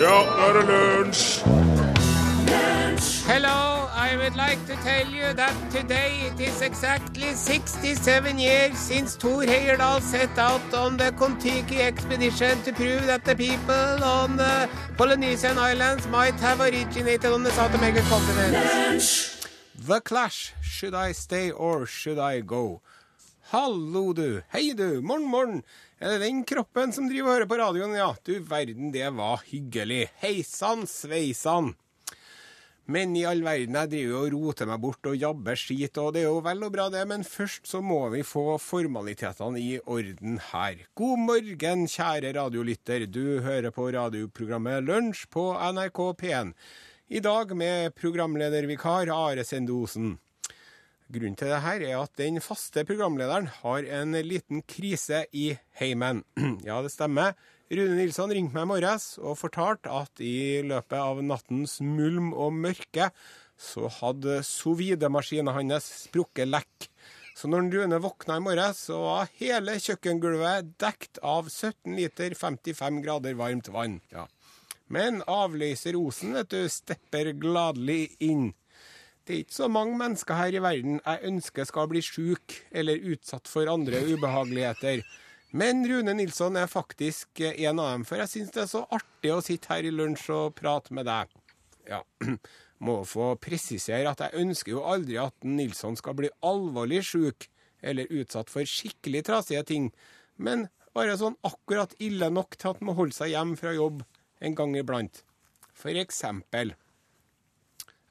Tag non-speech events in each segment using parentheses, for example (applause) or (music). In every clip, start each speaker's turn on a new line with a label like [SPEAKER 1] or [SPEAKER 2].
[SPEAKER 1] Ja, nå er det lunsj!
[SPEAKER 2] Hello, I would like to tell you that today it is exactly 67 years since Thor Heyerdahl set out on the Kon-Tiki expedition to prove that the people on the Polynesian islands might have originated on the South American continent. The Clash, Should I Stay or Should I Go? Hallo, du. Hei, du. Morn, morn. Er det den kroppen som driver og hører på radioen, ja? Du verden, det var hyggelig. Hei sann, sveisann. Men i all verden, jeg driver jo og roter meg bort og jabber skit, og det er jo vel og bra det, men først så må vi få formalitetene i orden her. God morgen, kjære radiolytter. Du hører på radioprogrammet Lunsj på NRK P1. I dag med programledervikar Are Sendosen. Grunnen til det her er at den faste programlederen har en liten krise i heimen. (clears throat) ja, det stemmer. Rune Nilsson ringte meg i morges og fortalte at i løpet av nattens mulm og mørke så hadde sous-vide-maskinen hans sprukket lekk. Så når Rune våkna i morges, så var hele kjøkkengulvet dekt av 17 liter 55 grader varmt vann. Ja. Men avløser Osen, vet du, stepper gladelig inn. Det er ikke så mange mennesker her i verden jeg ønsker skal bli syk eller utsatt for andre ubehageligheter. Men Rune Nilsson er faktisk en av dem, for jeg syns det er så artig å sitte her i lunsj og prate med deg. Ja, (clears throat) må få presisere at jeg ønsker jo aldri at Nilsson skal bli alvorlig syk eller utsatt for skikkelig trasige ting, men bare sånn akkurat ille nok til at han må holde seg hjem fra jobb en gang iblant. For eksempel.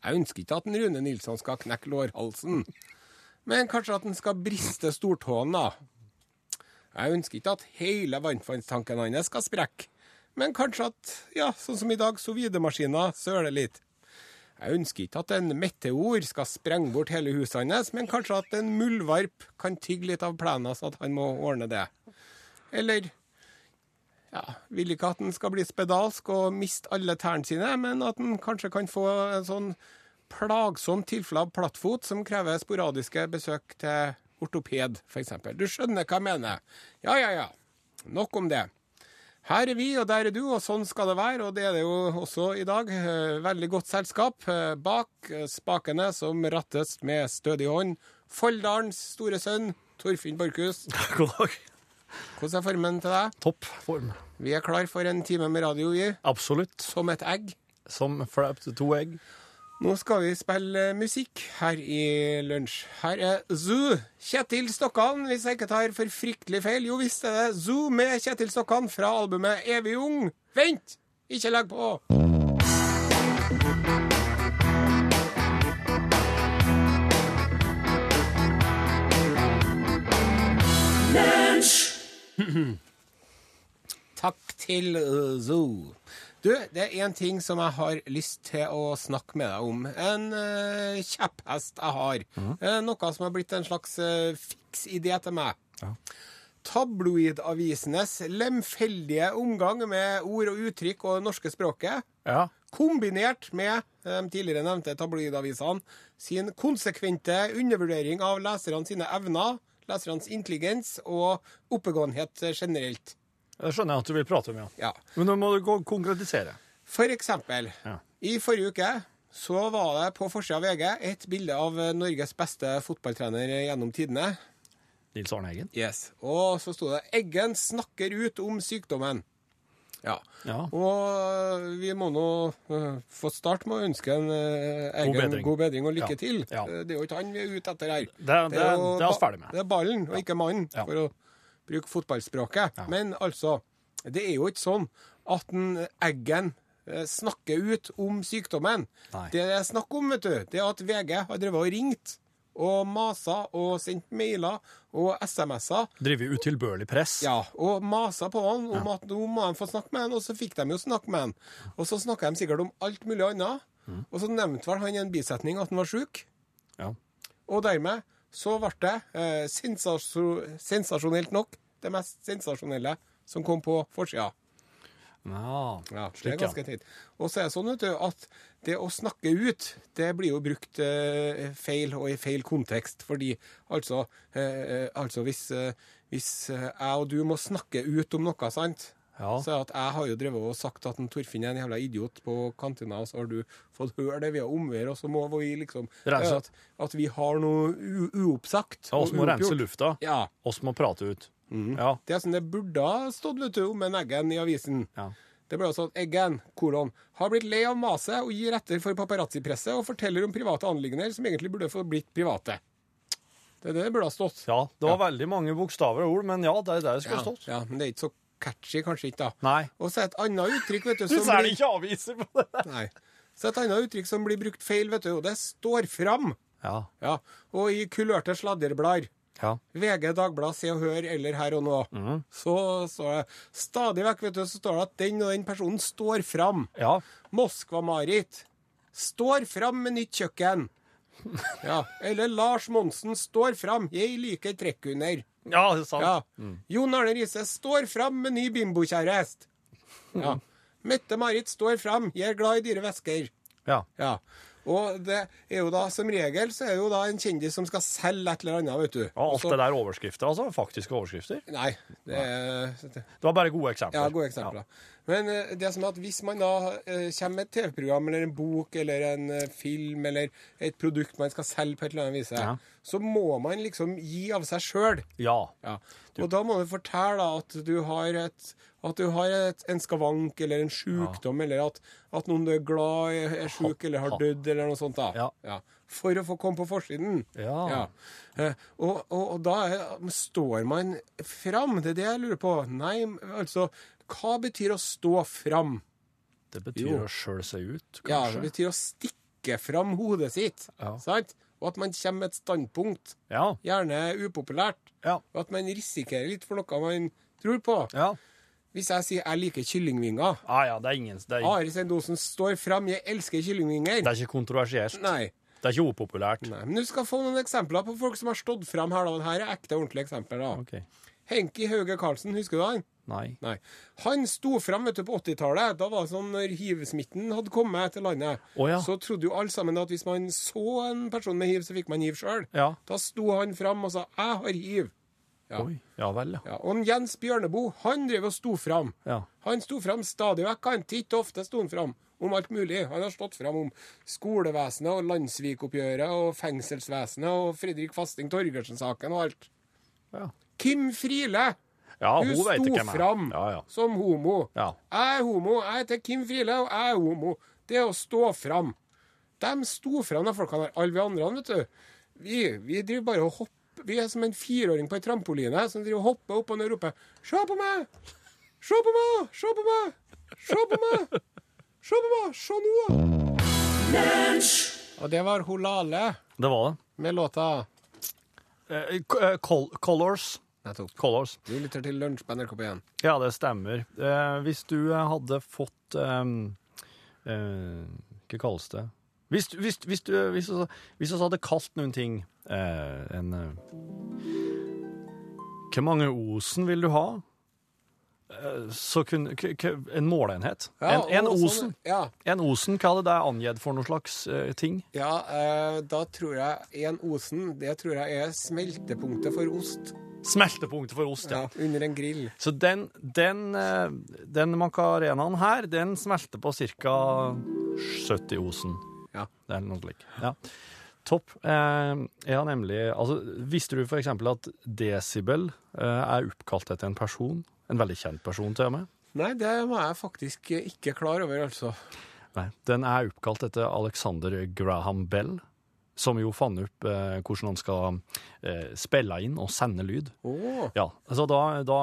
[SPEAKER 2] Jeg ønsker ikke at en Rune Nilsson skal knekke lårhalsen, men kanskje at han skal briste stortåen, da. Jeg ønsker ikke at hele varmtvannstanken hans skal sprekke, men kanskje at, ja, sånn som i dag, sovidemaskiner søler litt. Jeg ønsker ikke at en meteor skal sprenge bort hele huset hans, men kanskje at en muldvarp kan tygge litt av plenen, så at han må ordne det. Eller ja, vil ikke at den skal bli spedalsk og miste alle tærne sine, men at den kanskje kan få en sånn plagsom tilfelle av plattfot som krever sporadiske besøk til ortoped, f.eks. Du skjønner hva jeg mener. Ja, ja, ja. Nok om det. Her er vi, og der er du, og sånn skal det være, og det er det jo også i dag. Eh, Veldig godt selskap. eh, Bak eh, spakene som rattes med stødig hånd, Folldalens store sønn, Torfinn Borchhus.
[SPEAKER 3] God dag.
[SPEAKER 2] Hvordan er formen til deg?
[SPEAKER 3] Topp form.
[SPEAKER 2] Vi er klar for en time med radio, vi.
[SPEAKER 3] Absolutt.
[SPEAKER 2] Som et egg.
[SPEAKER 3] Som flaupt to egg.
[SPEAKER 2] Nå skal vi spille eh, musikk her i lunsj. Her er Zoo. Kjetil Stokkan, hvis jeg ikke tar for fryktelig feil. Jo visst er det Zoo med Kjetil Stokkan fra albumet Evig ung. Vent! Ikke legg på! Takk til eh, Zoo. Du, det er én ting som jeg har lyst til å snakke med deg om. En eh, kjepphest jeg har. Eh, noe som har blitt en slags eh, fiks idé til meg. Tabloidavisenes lemfeldige omgang med ord og uttrykk og det norske språket,
[SPEAKER 3] Ja.
[SPEAKER 2] kombinert med eh, de tidligere nevnte tabloidavisene sin konsekvente undervurdering av leserne sine evner, lesernes intelligens og oppegåenhet eh, generelt.
[SPEAKER 3] Det skjønner jeg at du vil prate om, ja.
[SPEAKER 2] Ja.
[SPEAKER 3] Men nå må du gå- konkretisere.
[SPEAKER 2] For eksempel,
[SPEAKER 3] Ja.
[SPEAKER 2] i forrige uke så var det på forsida av VG et bilde av Norges beste fotballtrener gjennom tidene.
[SPEAKER 3] Nils Arne Eggen.
[SPEAKER 2] Yes. Og så sto det 'Eggen snakker ut om sykdommen'. Ja.
[SPEAKER 3] Ja.
[SPEAKER 2] Og eh, vi må nå øh, få starte med å ønske en øh, Eggen god
[SPEAKER 3] bedring.
[SPEAKER 2] bedring, og lykke
[SPEAKER 3] Ja.
[SPEAKER 2] til.
[SPEAKER 3] Ja.
[SPEAKER 2] Eh, Det er jo ikke han vi er ute etter her.
[SPEAKER 3] Det er- det er-
[SPEAKER 2] jo
[SPEAKER 3] det er oss
[SPEAKER 2] ba-
[SPEAKER 3] ferdig med.
[SPEAKER 2] Det er ballen og ikke mannen,
[SPEAKER 3] Ja.
[SPEAKER 2] for å bruke fotballspråket. Men altså, det er jo ikke sånn at en Eggen eh, snakker ut om sykdommen.
[SPEAKER 3] Nei.
[SPEAKER 2] Det det er snakk om, vet du, det er at VG har drevet og ringt og masa og sendt mailer og SMS-er
[SPEAKER 3] Driver utilbørlig press.
[SPEAKER 2] ja, og masa på han om at nå må de få snakke med han, og så fikk de jo snakke med han. Og så snakka de sikkert om alt mulig annet. Og så nevnte vel han i en bisetning at han var sjuk,
[SPEAKER 3] Ja.
[SPEAKER 2] og dermed så ble det eh, sensasjo- sensasjonelt nok det mest sensasjonelle som kom på forsida.
[SPEAKER 3] Ja,
[SPEAKER 2] Ja, det er
[SPEAKER 3] slik, ja.
[SPEAKER 2] ganske teit. Og så er det sånn vet du, at det å snakke ut, det blir jo brukt eh, feil og i feil kontekst. Fordi altså, eh, eh, altså hvis, eh, hvis eh, jeg og du må snakke ut om noe, sant?
[SPEAKER 3] Ja.
[SPEAKER 2] Så at jeg har jo drevet og sagt at en Torfinn er en jævla idiot på kantina, og så har du fått høre det via omveier, og så må vi liksom
[SPEAKER 3] Rense.
[SPEAKER 2] eh, At, at vi har noe u- uoppsagt.
[SPEAKER 3] Ja, Mhm. oss må
[SPEAKER 2] og uoppgjort.
[SPEAKER 3] rense lufta.
[SPEAKER 2] Ja.
[SPEAKER 3] Oss må prate ut. Ja.
[SPEAKER 2] Det er sånn det burde ha stått vet du, om en Eggen i avisen.
[SPEAKER 3] Ja.
[SPEAKER 2] Det ble også at Eggen kolon, har blitt lei av maset og gir etter for paparazzi-presset og forteller om private anliggender som egentlig burde få blitt private. Det er det det burde ha stått.
[SPEAKER 3] ja. Det var veldig mange bokstaver og ord, men ja, det er der det
[SPEAKER 2] ja,
[SPEAKER 3] skulle stått.
[SPEAKER 2] ja, Men det er ikke så catchy, kanskje ikke, da.
[SPEAKER 3] Nei.
[SPEAKER 2] Og så et annet uttrykk vet du,
[SPEAKER 3] Så
[SPEAKER 2] som
[SPEAKER 3] er (laughs)
[SPEAKER 2] blir,
[SPEAKER 3] det ikke aviser på det der.
[SPEAKER 2] nei, så et annet uttrykk som blir brukt feil, vet du, og det er 'står fram'.
[SPEAKER 3] Ja.
[SPEAKER 2] Ja, Og i kulørte sladderblader.
[SPEAKER 3] Ja.
[SPEAKER 2] VG, Dagbladet, Se og Hør eller Her og Nå.
[SPEAKER 3] Mhm.
[SPEAKER 2] Så står det stadig vekk vet du, så står det at den og den personen står fram.
[SPEAKER 3] ja.
[SPEAKER 2] Moskva-Marit står fram med nytt kjøkken. Ja. Eller Lars Monsen står fram. Jeg liker trekkhunder.
[SPEAKER 3] Ja, det er sant.
[SPEAKER 2] Ja. Jon Arne Riise står fram med ny bimbokjæreste. Ja. Mette-Marit står fram. Jeg er glad i dyre vesker.
[SPEAKER 3] Ja.
[SPEAKER 2] Ja. Og det er jo da, som regel så er det jo da en kjendis som skal selge et eller annet, vet du.
[SPEAKER 3] Ja, alt
[SPEAKER 2] Også-
[SPEAKER 3] det der er overskrifter, altså. Faktiske overskrifter.
[SPEAKER 2] Nei. Det er,
[SPEAKER 3] Det var bare gode eksempler.
[SPEAKER 2] ja, gode eksempler. Men eh, det som er at hvis man da eh, kommer med et TV-program eller en bok eller en eh, film eller et produkt man skal selge på et eller annet vis,
[SPEAKER 3] Ja.
[SPEAKER 2] så må man liksom gi av seg sjøl.
[SPEAKER 3] Ja.
[SPEAKER 2] Ja. Og da må du fortelle da, at du har, et, at du har et, en skavank eller en sjukdom, eller at, at noen du er glad i, er sjuk eller har dødd, eller noe sånt. da.
[SPEAKER 3] Ja.
[SPEAKER 2] For å få komme på forsiden.
[SPEAKER 3] Ja.
[SPEAKER 2] Eh, Og, og, og da er, står man fram. Det er det jeg lurer på. Nei, altså Hva betyr å stå fram?
[SPEAKER 3] Det
[SPEAKER 2] Jo.
[SPEAKER 3] betyr å skjøle seg ut,
[SPEAKER 2] Ja, det
[SPEAKER 3] kanskje.
[SPEAKER 2] betyr å stikke fram hodet sitt.
[SPEAKER 3] Ja.
[SPEAKER 2] Sant? Og at man kommer med et standpunkt.
[SPEAKER 3] Ja.
[SPEAKER 2] Gjerne upopulært.
[SPEAKER 3] Ja.
[SPEAKER 2] Og at man risikerer litt for noe man tror på.
[SPEAKER 3] Ja.
[SPEAKER 2] Hvis jeg sier 'jeg liker kyllingvinger'
[SPEAKER 3] Ah, ja, det er ingen det er,
[SPEAKER 2] Ari Sendosen står fram 'jeg elsker kyllingvinger'.
[SPEAKER 3] det er ikke kontroversielt.
[SPEAKER 2] Nei.
[SPEAKER 3] Det er ikke upopulært.
[SPEAKER 2] Nei. Men du skal få noen eksempler på folk som har stått fram her. da. Og Her er ekte, ordentlige eksempler. da.
[SPEAKER 3] Ok.
[SPEAKER 2] Henki Hauge Karlsen, husker du han?
[SPEAKER 3] Nei.
[SPEAKER 2] Nei. Han sto fram vet du, på 80-tallet. Da var det sånn når hivsmitten hadde kommet til landet.
[SPEAKER 3] Å, ja.
[SPEAKER 2] Så trodde jo alle sammen at hvis man så en person med hiv, så fikk man hiv sjøl.
[SPEAKER 3] Ja.
[SPEAKER 2] Da sto han fram og sa 'jeg har hiv'. Ja.
[SPEAKER 3] Oi. Ja vel, ja.
[SPEAKER 2] Ja, og Jens Bjørneboe, han drev og sto fram.
[SPEAKER 3] Ja.
[SPEAKER 2] Han sto fram stadig vekk. Han titt og ofte sto han fram om alt mulig. Han har stått fram om skolevesenet og landssvikoppgjøret og fengselsvesenet og Fredrik Fasting Torgersen-saken og alt.
[SPEAKER 3] Ja,
[SPEAKER 2] Kim Friele!
[SPEAKER 3] ja
[SPEAKER 2] hun
[SPEAKER 3] hun vet
[SPEAKER 2] sto
[SPEAKER 3] ikke hvem jeg
[SPEAKER 2] fram
[SPEAKER 3] er. Ja, ja.
[SPEAKER 2] som homo.
[SPEAKER 3] Ja.
[SPEAKER 2] Jeg er homo. Jeg heter Kim Friele, og jeg er homo. Det er å stå fram. De sto fram, de folkene der. Alle vi andre, vet du. Vi, vi driver bare og hopper. Vi er som en fireåring på ei trampoline som driver og hopper opp og ned og roper 'Se på meg! Se på meg! Se på meg! Se på meg! Se på meg! Se nå!' Og det var Holale
[SPEAKER 3] Det var det.
[SPEAKER 2] med låta
[SPEAKER 3] Eh, k- eh, col colors.
[SPEAKER 2] Nettopp.
[SPEAKER 3] Colors.
[SPEAKER 2] Du lytter til Lunsj på NRK P1.
[SPEAKER 3] Ja, det stemmer. Eh, hvis du eh, hadde fått eh, eh, Hva kalles det? Hvis, du- hvis, hvis, du, hvis, du, hvis du hadde kalt noen ting eh, en eh, Hvor mange osen vil du ha? Eh, så kunne k- k- En måleenhet.
[SPEAKER 2] Ja,
[SPEAKER 3] en, en
[SPEAKER 2] og
[SPEAKER 3] osen.
[SPEAKER 2] sånn- Ja,
[SPEAKER 3] En osen, hva hadde det angitt for noen slags eh, ting?
[SPEAKER 2] Ja, eh, da tror jeg en osen, det tror jeg er smeltepunktet for ost
[SPEAKER 3] Smeltepunktet for ost, ja.
[SPEAKER 2] ja, under en grill.
[SPEAKER 3] Så den, den, eh, den macarenaen her, den smelter på ca. 70 osen.
[SPEAKER 2] Ja.
[SPEAKER 3] Det er noe slik. Ja. Topp. Eh, jeg har nemlig altså, Visste du f.eks. at Decibel eh, er oppkalt etter en person? En veldig kjent person, til og med.
[SPEAKER 2] Nei, det var jeg faktisk ikke klar over, altså.
[SPEAKER 3] Nei. Den er oppkalt etter Alexander Graham Bell, som jo fant opp eh, hvordan han skal eh, spille inn og sende lyd.
[SPEAKER 2] Åh,
[SPEAKER 3] Ja, altså da, da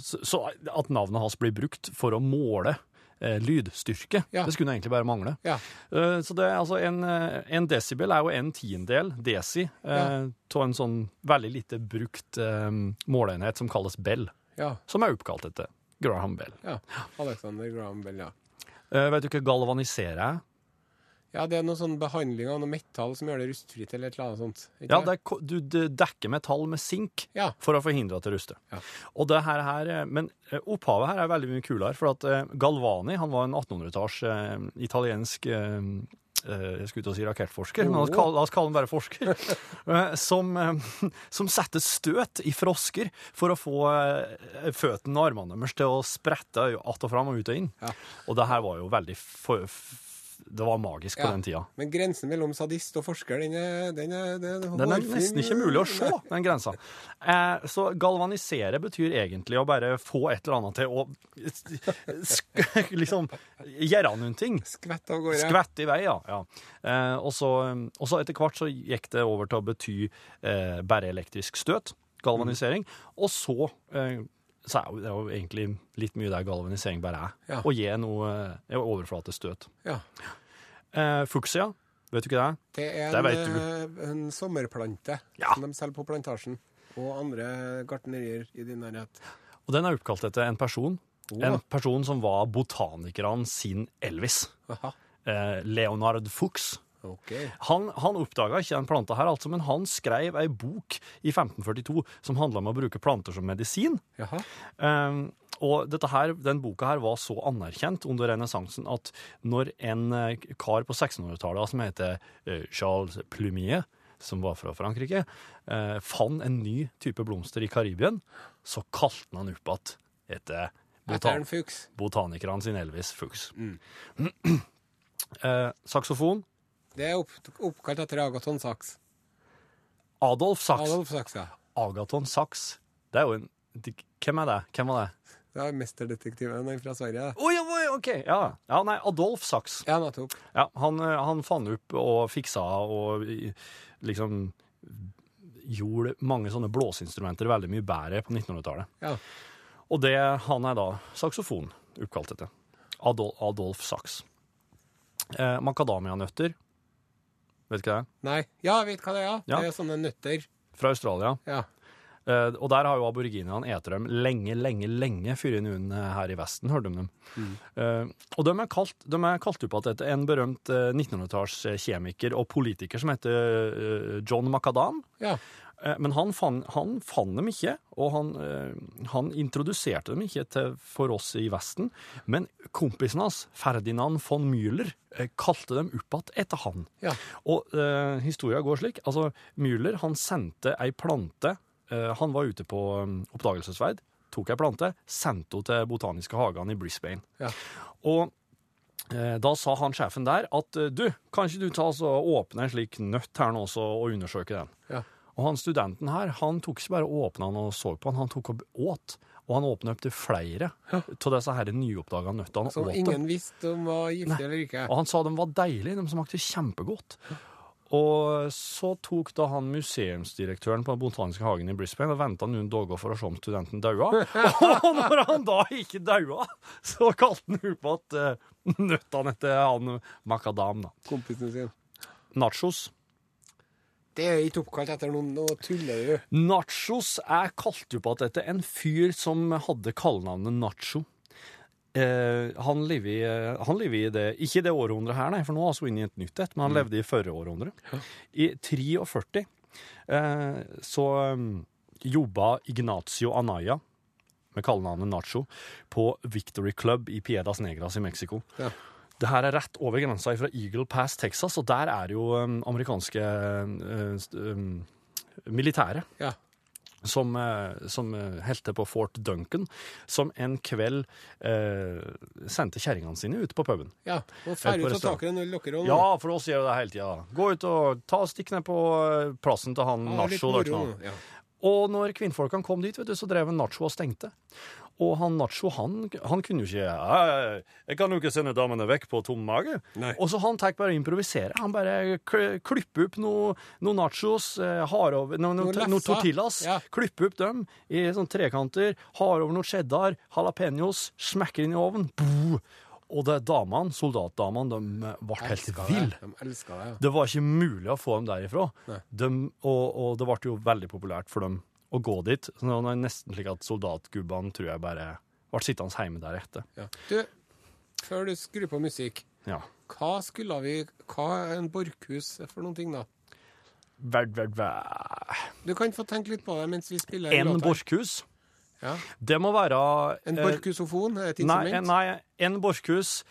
[SPEAKER 3] så, så at navnet hans blir brukt for å måle eh, lydstyrke,
[SPEAKER 2] Ja.
[SPEAKER 3] det skulle egentlig bare mangle.
[SPEAKER 2] ja.
[SPEAKER 3] Eh, så det er altså en, eh, en desibel er jo en tiendel desi eh,
[SPEAKER 2] Ja.
[SPEAKER 3] av en sånn veldig lite brukt eh, måleenhet som kalles bell,
[SPEAKER 2] Ja,
[SPEAKER 3] som er oppkalt etter Graham Bell.
[SPEAKER 2] ja. Alexander Graham Bell, ja.
[SPEAKER 3] Eh, vet du hva galvanisere er?
[SPEAKER 2] Ja, det er noe sånn behandling av noe metall som gjør det rustfritt eller et eller annet sånt. Ikke
[SPEAKER 3] Ja, det er, ko- du d- dekker metall med sink
[SPEAKER 2] Ja.
[SPEAKER 3] for å forhindre at det ruster.
[SPEAKER 2] Ja.
[SPEAKER 3] Og det her, her, eh, men eh, opphavet her er veldig mye kulere, for at eh, Galvani han var en 1800-talls eh, italiensk eh, eh, Jeg skulle ut og si rakettforsker, men la oss kalle, la oss kalle den bare forsker. (laughs) eh, som, eh, som setter støt i frosker for å få eh, føttene og armene deres til å sprette att og fram og ut og inn.
[SPEAKER 2] Ja.
[SPEAKER 3] Og det her var jo veldig f- f- Det var magisk på
[SPEAKER 2] Ja.
[SPEAKER 3] den tida.
[SPEAKER 2] Men grensen mellom sadist og forsker, den er, den er, den er
[SPEAKER 3] Den er
[SPEAKER 2] hårfin.
[SPEAKER 3] nesten ikke mulig å se, den grensa. Eh, så galvanisere betyr egentlig å bare få et eller annet til å (laughs) sk- liksom gjøre noen ting.
[SPEAKER 2] Skvett av gårde.
[SPEAKER 3] Skvett i vei, ja. ja. Eh, og så og så etter hvert så gikk det over til å bety eh, bare elektrisk støt, galvanisering. Og så, eh, så er jo- det er jo egentlig litt mye der galvanisering bare er.
[SPEAKER 2] Ja.
[SPEAKER 3] Å gi noe eh, overflatestøt.
[SPEAKER 2] Ja.
[SPEAKER 3] Eh, fuksia, vet du ikke det?
[SPEAKER 2] Det er
[SPEAKER 3] Det
[SPEAKER 2] en,
[SPEAKER 3] vet
[SPEAKER 2] eh, en sommerplante
[SPEAKER 3] Ja.
[SPEAKER 2] som de selger på plantasjen. Og andre gartnerier i din nærhet.
[SPEAKER 3] Og den er oppkalt etter en person.
[SPEAKER 2] Åh.
[SPEAKER 3] En person som var botanikeren sin Elvis.
[SPEAKER 2] Aha.
[SPEAKER 3] Eh, Leonard Fuchs.
[SPEAKER 2] OK.
[SPEAKER 3] Han, han oppdaga ikke den planta her, altså, men han skrev ei bok i 1542 som handla om å bruke planter som medisin.
[SPEAKER 2] Jaha.
[SPEAKER 3] Um, og dette her, den boka her var så anerkjent under renessansen at når en eh, kar på 1600-tallet som heter eh, Charles Plumier, som var fra Frankrike, eh, fant en ny type blomster i Karibien, så kalte han opp igjen etter
[SPEAKER 2] Etter en
[SPEAKER 3] botan
[SPEAKER 2] fuks.
[SPEAKER 3] botanikeren sin Elvis Fuchs. Mm. (clears throat) eh, saksofon
[SPEAKER 2] Det er opp, oppkalt etter Agaton Sachs.
[SPEAKER 3] Adolf Sachs.
[SPEAKER 2] Adolf Sachs, ja.
[SPEAKER 3] Agaton Sachs. Det er jo en Hvem er det? Hvem var det?
[SPEAKER 2] Det er mesterdetektiven fra Sverige. det.
[SPEAKER 3] Oi, oi, ok. Ja. ja, nei, Adolf Sachs.
[SPEAKER 2] Ja, nettopp.
[SPEAKER 3] Ja, han, eh, han fant opp og fiksa og i- liksom gjorde mange sånne blåseinstrumenter veldig mye bedre på 1900-tallet.
[SPEAKER 2] Ja.
[SPEAKER 3] Og det han er da saksofon oppkalt etter. Adol Adolf Sachs. Eh, Makadamianøtter. Vet ikke det?
[SPEAKER 2] Nei. Ja, jeg vet hva det er.
[SPEAKER 3] Ja.
[SPEAKER 2] Det er sånne nøtter.
[SPEAKER 3] Fra Australia.
[SPEAKER 2] Ja.
[SPEAKER 3] Eh, og der har jo aboriginerne eter dem lenge, lenge, lenge før noen eh, her i Vesten hørte om dem. Eh, og de er kalt, de er kalt opp igjen etter en berømt eh, 1900-tallskjemiker og politiker som heter eh, John Macadam.
[SPEAKER 2] ja.
[SPEAKER 3] Eh, Men han fant, han fann dem ikke, og han, eh, han introduserte dem ikke til, for oss i Vesten. Men kompisen hans, Ferdinand von Müller, eh, kalte dem opp igjen etter han.
[SPEAKER 2] Ja.
[SPEAKER 3] Og eh, historia går slik. Altså, Müller han sendte ei plante eh, Han var ute på eh, oppdagelsesferd, tok ei plante, sendte henne til botaniske hagene i Brisbane.
[SPEAKER 2] Ja.
[SPEAKER 3] Og eh, da sa han sjefen der at eh, du, kan ikke du ta altså, åpne en slik nøtt her nå også og undersøke den?
[SPEAKER 2] Ja.
[SPEAKER 3] Og han studenten her, han tok ikke bare åpna den og så på den, han tok og åt. Og han åpna opp til flere av disse her nyoppdaga nøttene.
[SPEAKER 2] Som
[SPEAKER 3] og åt dem.
[SPEAKER 2] ingen visste om var giftig eller ikke.
[SPEAKER 3] (laughs) Og han sa de var deilige, de smakte kjempegodt. Og så tok da han museumsdirektøren på den botaniske hagen i Brisbane og venta noen dager for å se om studenten daua. Og når han da ikke daua, så kalte han opp igjen eh, nøttene etter han Macadam. da.
[SPEAKER 2] Kompisen sin.
[SPEAKER 3] Nachos.
[SPEAKER 2] Det er ikke oppkalt etter noen. Nå tuller du.
[SPEAKER 3] Nachos er kalt opp igjen etter en fyr som hadde kallenavnet Nacho. Eh, han levde i, eh, han levde i det, ikke i det århundret her, nei, for nå er vi inne i et nytt et, men han levde i forrige århundre. I 43 eh, så um, jobba Ignacio Anaya med kallenavnet Nacho på Victory Club i Piedas Negras i Mexico.
[SPEAKER 2] Ja.
[SPEAKER 3] Det her er rett over grensa fra Eagle Pass, Texas, og der er jo um, amerikanske eh, st- um, militære
[SPEAKER 2] Ja.
[SPEAKER 3] som, eh, som eh, helte på Fort Duncan, som en kveld eh, sendte kjerringene sine ut på puben.
[SPEAKER 2] ja. Og
[SPEAKER 3] Jeg er
[SPEAKER 2] ferdig
[SPEAKER 3] på
[SPEAKER 2] til å ta dere en øl, dere òg.
[SPEAKER 3] Ja, for oss gjør det hele tida. Gå ut og ta stikk ned på eh, plassen til han
[SPEAKER 2] Ah,
[SPEAKER 3] Nacho. der, sånn.
[SPEAKER 2] Ja.
[SPEAKER 3] Og når kvinnfolkene kom dit, vet du, så drev han Nacho og stengte. Og han Nacho han, han kunne jo ikke «Nei, Jeg kan jo ikke sende damene vekk på tom mage.
[SPEAKER 2] Nei.
[SPEAKER 3] Og så han tar bare å improvisere. Han bare kl- klipper opp noen noe nachos, eh, har over noen
[SPEAKER 2] Noe
[SPEAKER 3] noe,
[SPEAKER 2] lefsa.
[SPEAKER 3] noe tortillas,
[SPEAKER 2] Ja.
[SPEAKER 3] klipper opp dem i sånne trekanter, har over noe cheddar, jalapeños, smekker inn i ovnen. Boo! Og det damene, soldatdamene, de eh, ble helt
[SPEAKER 2] Elsker
[SPEAKER 3] ville.
[SPEAKER 2] det. De elsker det. ja.
[SPEAKER 3] Det var ikke mulig å få dem derifra.
[SPEAKER 2] Nei.
[SPEAKER 3] De, og, og det ble jo veldig populært for dem å gå dit. Så det var nesten slik at soldatgubbene tror jeg bare ble sittende hjemme deretter.
[SPEAKER 2] Ja. Du, før du skrur på musikk,
[SPEAKER 3] Ja.
[SPEAKER 2] hva skulle vi Hva er en borkhus for noen ting, da?
[SPEAKER 3] Verd, verd, verd.
[SPEAKER 2] Du kan få tenke litt på det mens vi spiller
[SPEAKER 3] En
[SPEAKER 2] låt her.
[SPEAKER 3] borkhus.
[SPEAKER 2] Ja.
[SPEAKER 3] Det må være
[SPEAKER 2] En
[SPEAKER 3] eh,
[SPEAKER 2] borkhusofon er et
[SPEAKER 3] Nei,
[SPEAKER 2] instrument.
[SPEAKER 3] nei, en borkhus,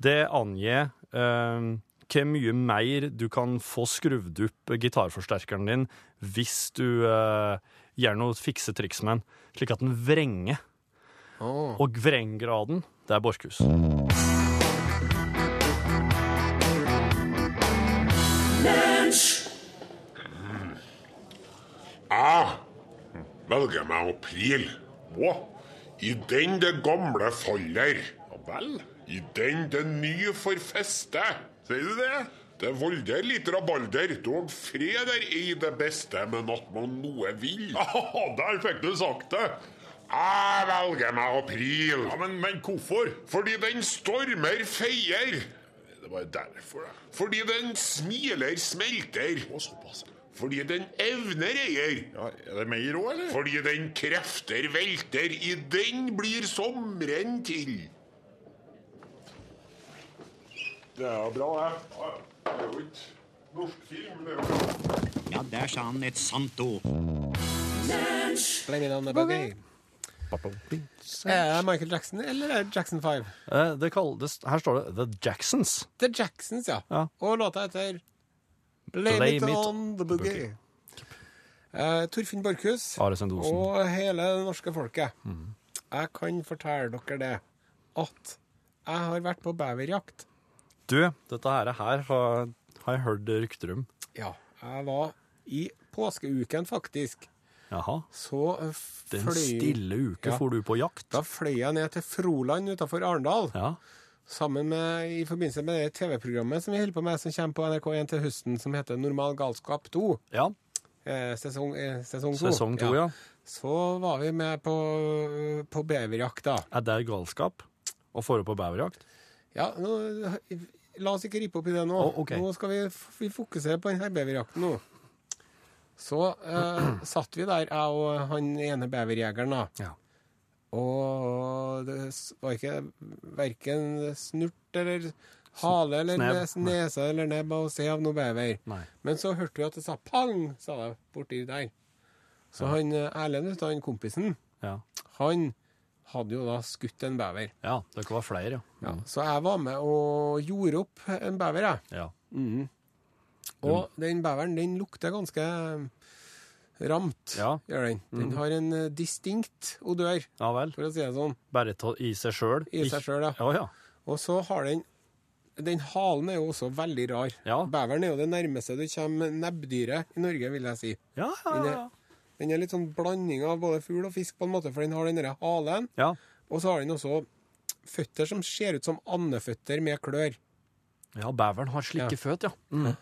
[SPEAKER 3] det angir eh, hvor mye mer du kan få skrudd opp gitarforsterkeren din hvis du eh, gjør noe fikse triks med den, slik at den vrenger. Og vrenggraden, det er Borchhus.
[SPEAKER 1] Jeg velger Ah, meg april. Hva? I den det gamle faller. Ja vel? I den det nye får feste. Sier du det? Det volder litt rabalder, dog freder i det beste, men at man noe (laughs) vil. Der fikk du sagt det. Jeg velger meg april. men, hvorfor? Fordi den stormer feier. Det var derfor, da. Fordi den smiler smelter. Og såpass. Fordi den evner eier. er det mer òg, eller? Fordi den krefter velter. I den blir sommeren til. Det er bra, det. Det er jo ikke norsk film. det er jo...
[SPEAKER 4] Ja, der sa han et sant ord.
[SPEAKER 2] Blame it on the boogie. Er det Michael Jackson eller er det Jackson 5?
[SPEAKER 3] Eh, Det kall- det, her står det The Jacksons.
[SPEAKER 2] The Jacksons, ja.
[SPEAKER 3] Ja.
[SPEAKER 2] Og låta heter Blame,
[SPEAKER 3] Blame
[SPEAKER 2] it
[SPEAKER 3] it
[SPEAKER 2] on the boogie. Eh, Torfinn Borchhus
[SPEAKER 3] Are Sendosen. Mhm.
[SPEAKER 2] og hele det norske folket. Jeg kan fortelle dere det at jeg har vært på beverjakt.
[SPEAKER 3] Du, dette her, her har, har jeg hørt rykter om.
[SPEAKER 2] Ja, jeg var i påskeuken, faktisk.
[SPEAKER 3] Jaha.
[SPEAKER 2] Så eh,
[SPEAKER 3] Den
[SPEAKER 2] fløy
[SPEAKER 3] stille uke
[SPEAKER 2] Ja.
[SPEAKER 3] får du på jakt.
[SPEAKER 2] Da fløy jeg ned til Froland utafor Arendal.
[SPEAKER 3] Ja.
[SPEAKER 2] sammen med, i forbindelse med det TV-programmet som vi holder på med, som kommer på NRK1 til høsten, som heter Normal galskap 2.
[SPEAKER 3] ja.
[SPEAKER 2] Eh, sesong, eh, sesong 2.
[SPEAKER 3] Sesong to, ja.
[SPEAKER 2] Så var vi med på, på beverjakt, da.
[SPEAKER 3] Er det galskap å få opp på beverjakt?
[SPEAKER 2] Ja, nå, la oss ikke rippe opp i det nå.
[SPEAKER 3] Å, ok.
[SPEAKER 2] Nå skal vi, f- vi fokusere på denne beverjakten nå. Så eh, (clears throat) satt vi der, jeg og han ene beverjegeren, da.
[SPEAKER 3] Ja.
[SPEAKER 2] Og det s- var ikke verken snurt eller hale eller
[SPEAKER 3] snev.
[SPEAKER 2] nes, nese eller nebb å se av noe bever.
[SPEAKER 3] Nei.
[SPEAKER 2] Men så hørte vi at det sa pang, sa det borti der. Så han eh, Erlend, vet du, han kompisen,
[SPEAKER 3] Ja.
[SPEAKER 2] han hadde jo da skutt en bever.
[SPEAKER 3] ja. Dere var flere, ja.
[SPEAKER 2] Så jeg var med og gjorde opp en bever, jeg.
[SPEAKER 3] ja.
[SPEAKER 2] Og den beveren, den lukter ganske ramt,
[SPEAKER 3] Ja. Mm.
[SPEAKER 2] gjør den. Den har en eh, distinkt odør,
[SPEAKER 3] Ja vel.
[SPEAKER 2] for å si det sånn.
[SPEAKER 3] Bare ta i seg sjøl?
[SPEAKER 2] I seg selv, ja.
[SPEAKER 3] Ja, ja.
[SPEAKER 2] Og så har den Den halen er jo også veldig rar.
[SPEAKER 3] Ja.
[SPEAKER 2] Beveren er jo det nærmeste du kommer nebbdyret i Norge, vil jeg si.
[SPEAKER 3] Ja, ja,
[SPEAKER 2] Den
[SPEAKER 3] ja.
[SPEAKER 2] er, den er litt sånn blanding av både fugl og fisk, på en måte, for den har den derre halen,
[SPEAKER 3] ja.
[SPEAKER 2] og så har den også føtter som ser ut som andeføtter med klør.
[SPEAKER 3] ja beveren har slike
[SPEAKER 2] Ja.
[SPEAKER 3] føt, ja.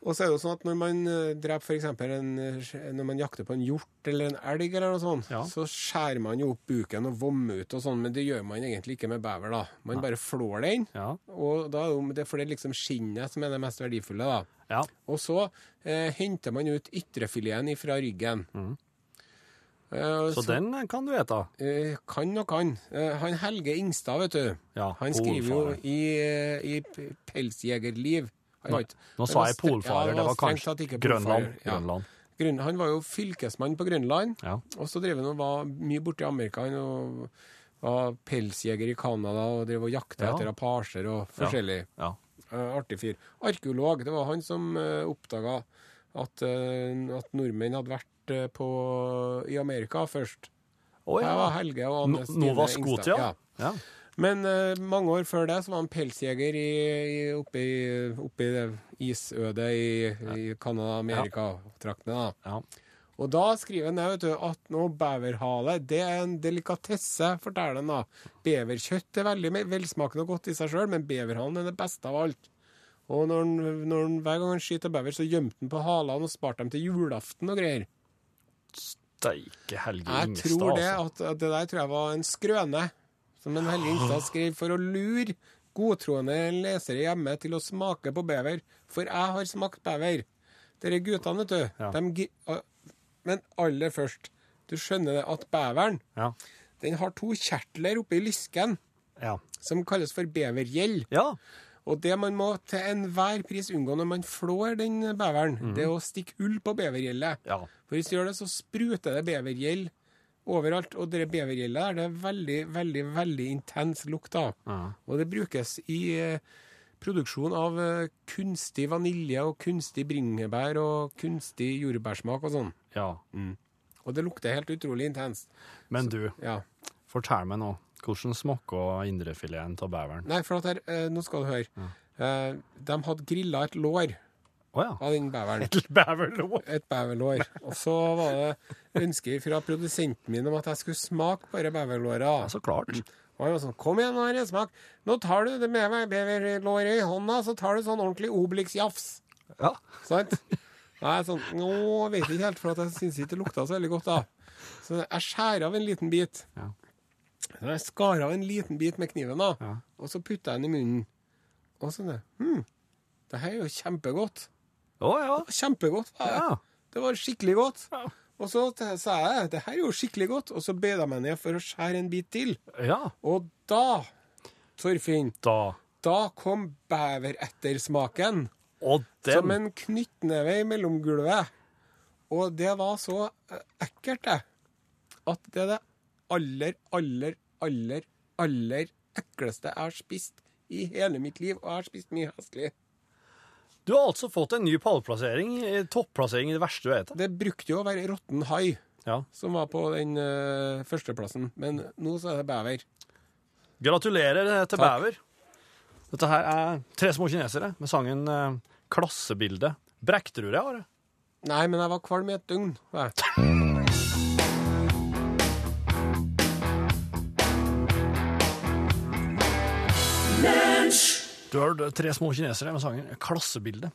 [SPEAKER 2] Og så er det jo sånn at når man eh, dreper for eksempel en, eh, når man jakter på en hjort eller en elg eller noe sånt,
[SPEAKER 3] Ja.
[SPEAKER 2] så skjærer man jo opp buken og vommer ut og sånn, men det gjør man egentlig ikke med bever, da. Man bare flår den,
[SPEAKER 3] Ja.
[SPEAKER 2] og da er det jo- det er for det er liksom skinnet som er det mest verdifulle, da.
[SPEAKER 3] ja.
[SPEAKER 2] Og så eh, henter man ut ytrefileten fra ryggen.
[SPEAKER 3] Mm.
[SPEAKER 2] Eh,
[SPEAKER 3] Så den kan du ete.
[SPEAKER 2] eh, kan og kan. Eh, han Helge Ingstad, vet du.
[SPEAKER 3] Ja,
[SPEAKER 2] han skriver jo
[SPEAKER 3] polfarer.
[SPEAKER 2] i, eh, i P- Pelsjegerliv. Han var
[SPEAKER 3] Nå,
[SPEAKER 2] ikke-
[SPEAKER 3] nå
[SPEAKER 2] det
[SPEAKER 3] sa
[SPEAKER 2] var
[SPEAKER 3] jeg
[SPEAKER 2] stre-
[SPEAKER 3] polfarer, det var
[SPEAKER 2] strengt
[SPEAKER 3] kanskje
[SPEAKER 2] tatt ikke
[SPEAKER 3] Grønland.
[SPEAKER 2] polfarer, ja.
[SPEAKER 3] Grønland.
[SPEAKER 2] Grøn- Han var jo fylkesmann på Grønland,
[SPEAKER 3] Ja.
[SPEAKER 2] og så drev han og var mye borte i Amerika. Han og var pelsjeger i Canada og drev og jakta
[SPEAKER 3] Ja.
[SPEAKER 2] etter apasjer og forskjellig.
[SPEAKER 3] Ja.
[SPEAKER 2] Eh, artig fyr. Arkeolog. Det var han som uh, oppdaga at, eh, at nordmenn hadde vært eh, på, i Amerika først.
[SPEAKER 3] Å
[SPEAKER 2] Her var
[SPEAKER 3] ja.
[SPEAKER 2] Helge og
[SPEAKER 3] No-
[SPEAKER 2] Anne Stine
[SPEAKER 3] Nova
[SPEAKER 2] Ingstad.
[SPEAKER 3] Scotia. Ja.
[SPEAKER 2] Men eh, mange år før det så var han pelsjeger i, i, oppe i, oppe i det isødet i, i Canada-Amerika-traktene. da.
[SPEAKER 3] ja.
[SPEAKER 2] Og da skriver han det, vet du, at nå beverhale, det er en delikatesse, forteller han da. Beverkjøtt er veldig me- velsmakende og godt i seg sjøl, men beverhalen er det beste av alt. Og når han, når han, hver gang han skyter bever, så gjemte han på halene og sparte dem til julaften og greier.
[SPEAKER 3] Steike Helge
[SPEAKER 2] Jeg
[SPEAKER 3] Ingstad,
[SPEAKER 2] tror det, at,
[SPEAKER 3] altså.
[SPEAKER 2] at det der tror jeg var en skrøne, som en Helge Ingstad skrev for å lure godtroende lesere hjemme til å smake på bever. For jeg har smakt bever. Dere guttene, vet du.
[SPEAKER 3] Ja.
[SPEAKER 2] dem gi- ah, men aller først, du skjønner det at beveren
[SPEAKER 3] Ja.
[SPEAKER 2] den har to kjertler oppi lysken
[SPEAKER 3] Ja.
[SPEAKER 2] som kalles for bevergjeld.
[SPEAKER 3] ja.
[SPEAKER 2] Og det man må til enhver pris unngå når man flår den beveren, det er å stikke hull på bevergjeldet.
[SPEAKER 3] Ja.
[SPEAKER 2] For hvis du gjør det, så spruter det bevergjeld overalt. Og det bevergjeldet der, det er veldig, veldig, veldig intens lukt av. Og det brukes i eh, Produksjon av eh, kunstig vanilje og kunstig bringebær og kunstig jordbærsmak og sånn.
[SPEAKER 3] Ja.
[SPEAKER 2] Og det lukter helt utrolig intenst.
[SPEAKER 3] Men du,
[SPEAKER 2] Ja.
[SPEAKER 3] fortell meg nå. Hvordan smaker indrefileten av beveren?
[SPEAKER 2] Nei, for at her, eh, nå skal du høre. Eh, de hadde grilla et lår
[SPEAKER 3] Å ja.
[SPEAKER 2] av den
[SPEAKER 3] (laughs)
[SPEAKER 2] beveren.
[SPEAKER 3] Et beverlår.
[SPEAKER 2] Et beverlår. Og så var det ønske fra produsenten min om at jeg skulle smake bare beverlåra.
[SPEAKER 3] Ja, så klart.
[SPEAKER 2] Og han var sånn, Kom igjen, Are, smak. Nå tar du det med meg beverlåret i hånda, så tar du sånn ordentlig Obelix-jafs.
[SPEAKER 3] Ja.
[SPEAKER 2] Sant? Nei, sånn, nå vet jeg ikke helt, for at jeg syns ikke det lukta så veldig godt. da. Så jeg skjærer av en liten bit.
[SPEAKER 3] Ja.
[SPEAKER 2] Så jeg skar av en liten bit med kniven, da,
[SPEAKER 3] Ja.
[SPEAKER 2] og så putta jeg den i munnen. Og så det, hm, det her er jo kjempegodt.
[SPEAKER 3] Å ja.
[SPEAKER 2] Kjempegodt. var det.
[SPEAKER 3] Ja.
[SPEAKER 2] Det var skikkelig godt.
[SPEAKER 3] Ja.
[SPEAKER 2] Og så t- sa jeg det her er jo skikkelig godt, og så bøyde jeg meg ned for å skjære en bit til.
[SPEAKER 3] ja.
[SPEAKER 2] Og da, Torfinn,
[SPEAKER 3] Da.
[SPEAKER 2] da kom beverettersmaken
[SPEAKER 3] Og
[SPEAKER 2] som
[SPEAKER 3] den
[SPEAKER 2] en knyttneve i mellomgulvet. Og det var så eh, ekkelt, det, at det er det aller, aller, aller, aller ekleste jeg har spist i hele mitt liv. Og jeg har spist mye hestlig.
[SPEAKER 3] Du har altså fått en ny pallplassering. eh, Topplassering i det verste du heter.
[SPEAKER 2] Det brukte jo å være råtten hai
[SPEAKER 3] Ja.
[SPEAKER 2] som var på den eh, førsteplassen, men nå så er det bever.
[SPEAKER 3] Gratulerer eh, til
[SPEAKER 2] Takk.
[SPEAKER 3] bever. Dette her er Tre små kinesere med sangen eh, 'Klassebilde'. Brekterud jeg har det.
[SPEAKER 2] Nei, men jeg var kvalm i et døgn. var jeg.
[SPEAKER 3] Du har hørt Tre små kinesere med sangen 'Klassebilde'.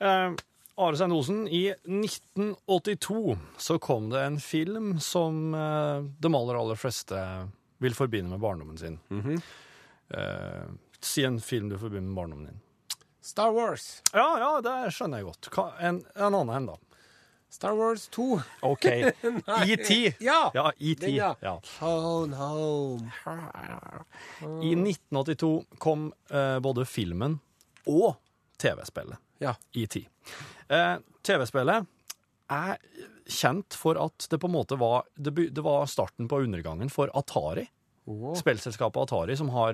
[SPEAKER 3] Eh, Are Sein Osen, i 1982 så kom det en film som eh, de aller, aller fleste vil forbinde med barndommen sin. eh, si en film du forbinder med barndommen din.
[SPEAKER 2] Star Wars.
[SPEAKER 3] Ja, ja, det skjønner jeg godt. Ka- En, en annen en, da.
[SPEAKER 2] Star Wars 2.
[SPEAKER 3] (laughs) OK. ET.
[SPEAKER 2] Ja,
[SPEAKER 3] ja, E.T.
[SPEAKER 2] den, ja.
[SPEAKER 3] Ja.
[SPEAKER 2] Phone home.
[SPEAKER 3] I 1982 kom eh, både filmen og TV-spillet.
[SPEAKER 2] Ja.
[SPEAKER 3] ET. Eh, TV-spillet er kjent for at det på en måte var Det, by- det var starten på undergangen for Atari.
[SPEAKER 2] Åh.
[SPEAKER 3] Spillselskapet Atari, som har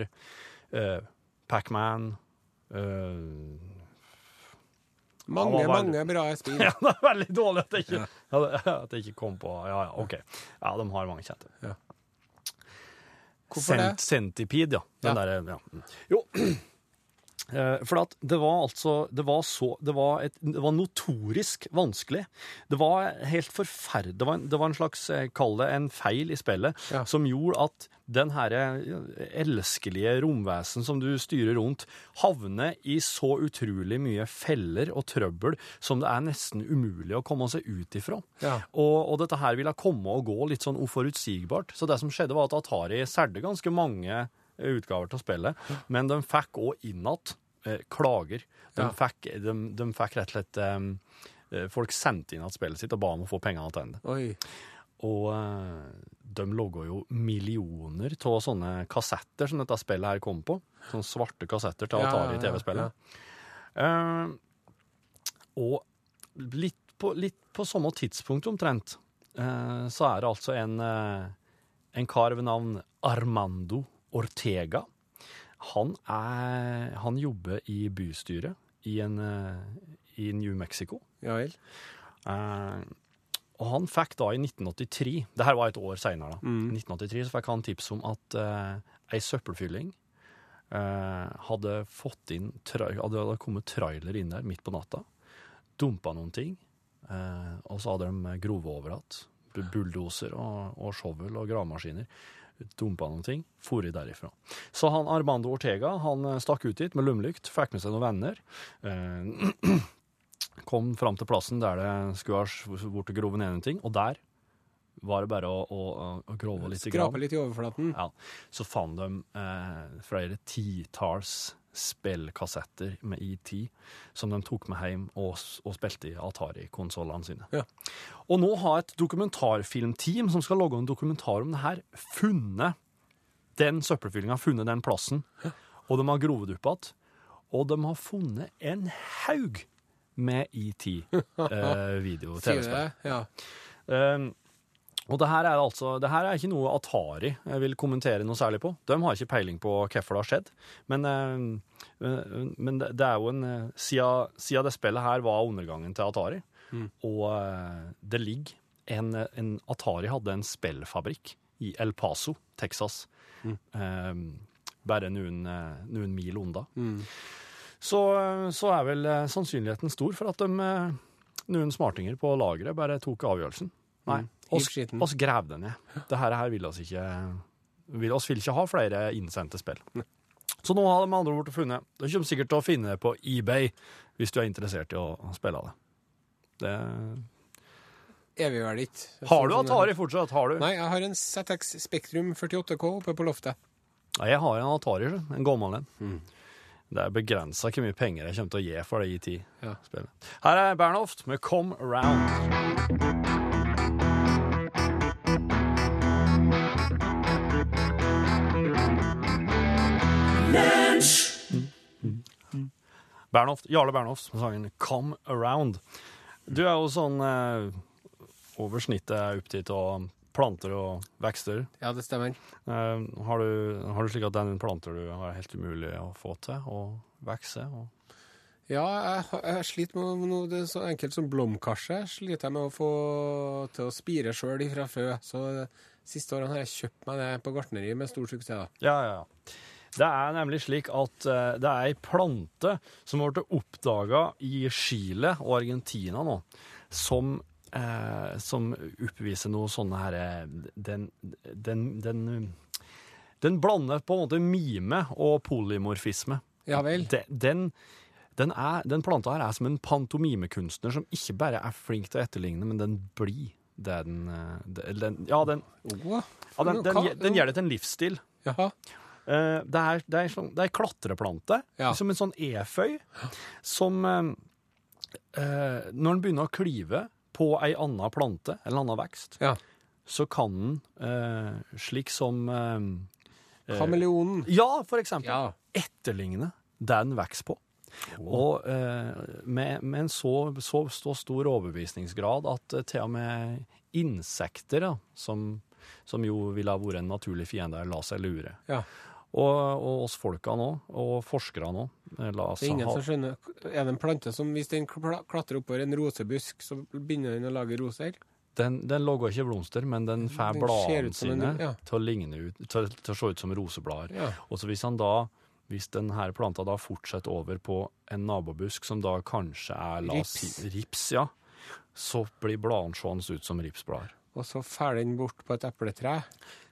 [SPEAKER 3] eh, Pacman eh, (laughs)
[SPEAKER 2] Mange,
[SPEAKER 3] Han var vel-
[SPEAKER 2] mange bra spill.
[SPEAKER 3] Ja, det er veldig dårlig at jeg ikke, at jeg ikke kom på Ja, ja, OK. Ja, de har mange kjente.
[SPEAKER 2] Ja. Hvorfor
[SPEAKER 3] Cent,
[SPEAKER 2] det?
[SPEAKER 3] Centipede, ja. Den
[SPEAKER 2] Ja.
[SPEAKER 3] derre ja. Mm. Jo. (clears throat) Eh, For at det var altså Det var så Det var, et, det var notorisk vanskelig. Det var helt forferdelig det, var en- det var en slags eh, Kall det en feil i spillet
[SPEAKER 2] Ja.
[SPEAKER 3] som gjorde at den herre elskelige romvesen som du styrer rundt, havner i så utrolig mye feller og trøbbel som det er nesten umulig å komme seg ut ifra.
[SPEAKER 2] Ja.
[SPEAKER 3] Og, og dette her ville komme og gå litt sånn uforutsigbart. Så det som skjedde, var at Atari solgte ganske mange eh, utgaver til spillet, men de fikk òg innat eh, klager. De,
[SPEAKER 2] Ja.
[SPEAKER 3] fikk, de, de fikk rett og slett eh, eh, Folk sendte inn at spillet sitt og ba om å få pengene tilbake.
[SPEAKER 2] Oi.
[SPEAKER 3] Og eh, de logga jo millioner av sånne kassetter som dette spillet her kom på. Sånne svarte kassetter til
[SPEAKER 2] Ja, ja,
[SPEAKER 3] Atari
[SPEAKER 2] ja,
[SPEAKER 3] TV-spillet. Eh, og litt på, litt på samme tidspunkt omtrent, eh, så er det altså en, eh, en kar ved navn Armando Ortega. Han, er, han jobber i bystyret i, en, eh, i New Mexico.
[SPEAKER 2] Ja vel.
[SPEAKER 3] Eh, og han fikk da i 1983, det her var et år senere da, 1983 så fikk han tips om at eh, ei søppelfylling eh, hadde fått inn, tra hadde, hadde kommet trailer inn der midt på natta, dumpa noen ting, eh, og så hadde de grove over at, bu- bulldoser og, og shovel og gravemaskiner, dumpa noen ting, for i derifra. Så han Armando Ortega, han eh, stakk ut dit med lumlykt, fikk med seg noen venner, eh, (clears throat) kom fram til plassen der det skulle ha bort og grove ned en ting, og der var det bare å, å, å grove litt.
[SPEAKER 2] Skrape litt i overflaten.
[SPEAKER 3] Ja, så fant de eh, flere titalls spillkassetter med ET som de tok med hjem og, s- og spilte i Atari-konsollene sine.
[SPEAKER 2] Ja.
[SPEAKER 3] Og nå har et dokumentarfilmteam som skal lage en dokumentar om det her, funnet den søppelfyllinga, funnet den plassen, og de har grovet opp igjen. Og de har funnet en haug med ET-video.
[SPEAKER 2] Sier du det? Ja.
[SPEAKER 3] Um, Og det her er altså, det her er ikke noe Atari jeg vil kommentere noe særlig på. De har ikke peiling på hvorfor det har skjedd. Men, eh, eh, men det det er jo en eh, Siden siden det spillet her var undergangen til Atari, og eh, det ligger en, en Atari hadde en spillfabrikk i El Paso, Texas. Eh, bare noen, eh, noen mil unna.
[SPEAKER 2] Mm.
[SPEAKER 3] Så, så er vel eh, sannsynligheten stor for at de, eh, noen smartinger på lageret bare tok avgjørelsen. Nei,
[SPEAKER 2] Mm. Hiv
[SPEAKER 3] oss,
[SPEAKER 2] skitten.
[SPEAKER 3] oss grav det ned. Det her, her vil oss ikke vil, oss vil ikke ha flere innsendte spill. Så nå har de med andre ord funnet. Du kommer sikkert til å finne det på eBay hvis du er interessert i å å spille det. det.
[SPEAKER 2] Er vi vel ikke.
[SPEAKER 3] Har du Atari fortsatt? Har du?
[SPEAKER 2] Nei, jeg har en ZX Spektrum 48K oppe på loftet.
[SPEAKER 3] Nei, jeg har en Atari, sjø. en gammel en. Det er begrensa hvor mye penger jeg kommer til å gi for det i tid.
[SPEAKER 2] Ja.
[SPEAKER 3] Spillet. Her er Bernhoft med Come Around. Bernhoft, Jarle Bernhoft med sangen Come Around. Du er jo sånn eh, over snittet opptatt av planter og vekster.
[SPEAKER 2] Ja, det stemmer.
[SPEAKER 3] Eh, har, du, har du slik at det er noen planter du har helt umulig å få til og vokse? Og...
[SPEAKER 2] Ja, jeg, jeg sliter med noe det er så enkelt som blomkarse. Sliter jeg med å få til å spire sjøl ifra fø. Så de siste årene har jeg kjøpt meg det på gartneri med stor suksess. da.
[SPEAKER 3] Ja, ja, ja. Det er nemlig slik at eh, det er ei plante som ble oppdaga i Chile og Argentina nå, som, eh, som oppviser noe sånne herre den, den, den, den blander på en måte mime og polymorfisme.
[SPEAKER 2] Ja vel.
[SPEAKER 3] De- Den, den, er, den planta her er som en pantomimekunstner som ikke bare er flink til å etterligne, men den blir det den, eh, det- den Ja, den,
[SPEAKER 2] Åh,
[SPEAKER 3] ja, den, den,
[SPEAKER 2] hva-
[SPEAKER 3] gje- den gjør det til en livsstil.
[SPEAKER 2] Jaha.
[SPEAKER 3] Eh, det er det er en sånn, det er en klatreplante,
[SPEAKER 2] Ja.
[SPEAKER 3] som en sånn eføy, som eh, eh, Når den begynner å klyve på ei anna plante, eller anna vekst,
[SPEAKER 2] Ja.
[SPEAKER 3] så kan den, eh, slik som eh,
[SPEAKER 2] Kameleonen.
[SPEAKER 3] Ja, for eksempel.
[SPEAKER 2] Ja.
[SPEAKER 3] Etterligne det den vokser på. Og eh, med, med en så, så, så stor overbevisningsgrad at eh, til og med insekter, da, som, som jo ville ha vært en naturlig fiende, la seg lure.
[SPEAKER 2] ja.
[SPEAKER 3] Og, og oss folka nå, og forskere nå. eh, La oss
[SPEAKER 2] Det er ingen
[SPEAKER 3] ha-
[SPEAKER 2] som skjønner. Er det en plante som hvis den kla- klatrer oppover en rosebusk, så begynner den å lage roser?
[SPEAKER 3] den, den lager ikke blomster, men den
[SPEAKER 2] Den ser
[SPEAKER 3] får bladene
[SPEAKER 2] ut som en-
[SPEAKER 3] sine
[SPEAKER 2] ja.
[SPEAKER 3] til å ligne ut, til, til å se ut som roseblader.
[SPEAKER 2] Ja.
[SPEAKER 3] Og så hvis han da hvis denne planta da fortsetter over på en nabobusk, som da kanskje er la oss si- rips ja, så blir bladene seende ut som ripsblader.
[SPEAKER 2] Og så fæler den bort på et epletre?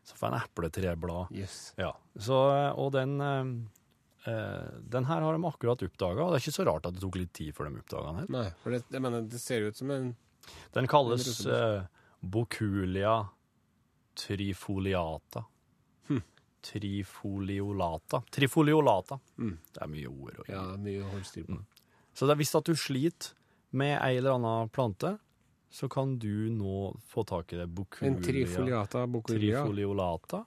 [SPEAKER 3] Så får en epletreblad.
[SPEAKER 2] Yes.
[SPEAKER 3] Ja, så, og den, eh, eh, den her har de akkurat oppdaga, og det er ikke så rart at det tok litt tid før de oppdaga den. her.
[SPEAKER 2] Nei, for det, jeg mener, det ser ut som en
[SPEAKER 3] Den kalles eh, Boculia trifoliata. Hm. Trifoliolata. Trifoliolata. Hm, Det er mye ord. Og
[SPEAKER 2] Ja, mye å holde styr
[SPEAKER 3] Mm.
[SPEAKER 2] på.
[SPEAKER 3] Så det er hvis at du sliter med ei eller annen plante, så kan du nå få tak i det Boculia
[SPEAKER 2] En trifoliata bocoria.
[SPEAKER 3] trifoliolata.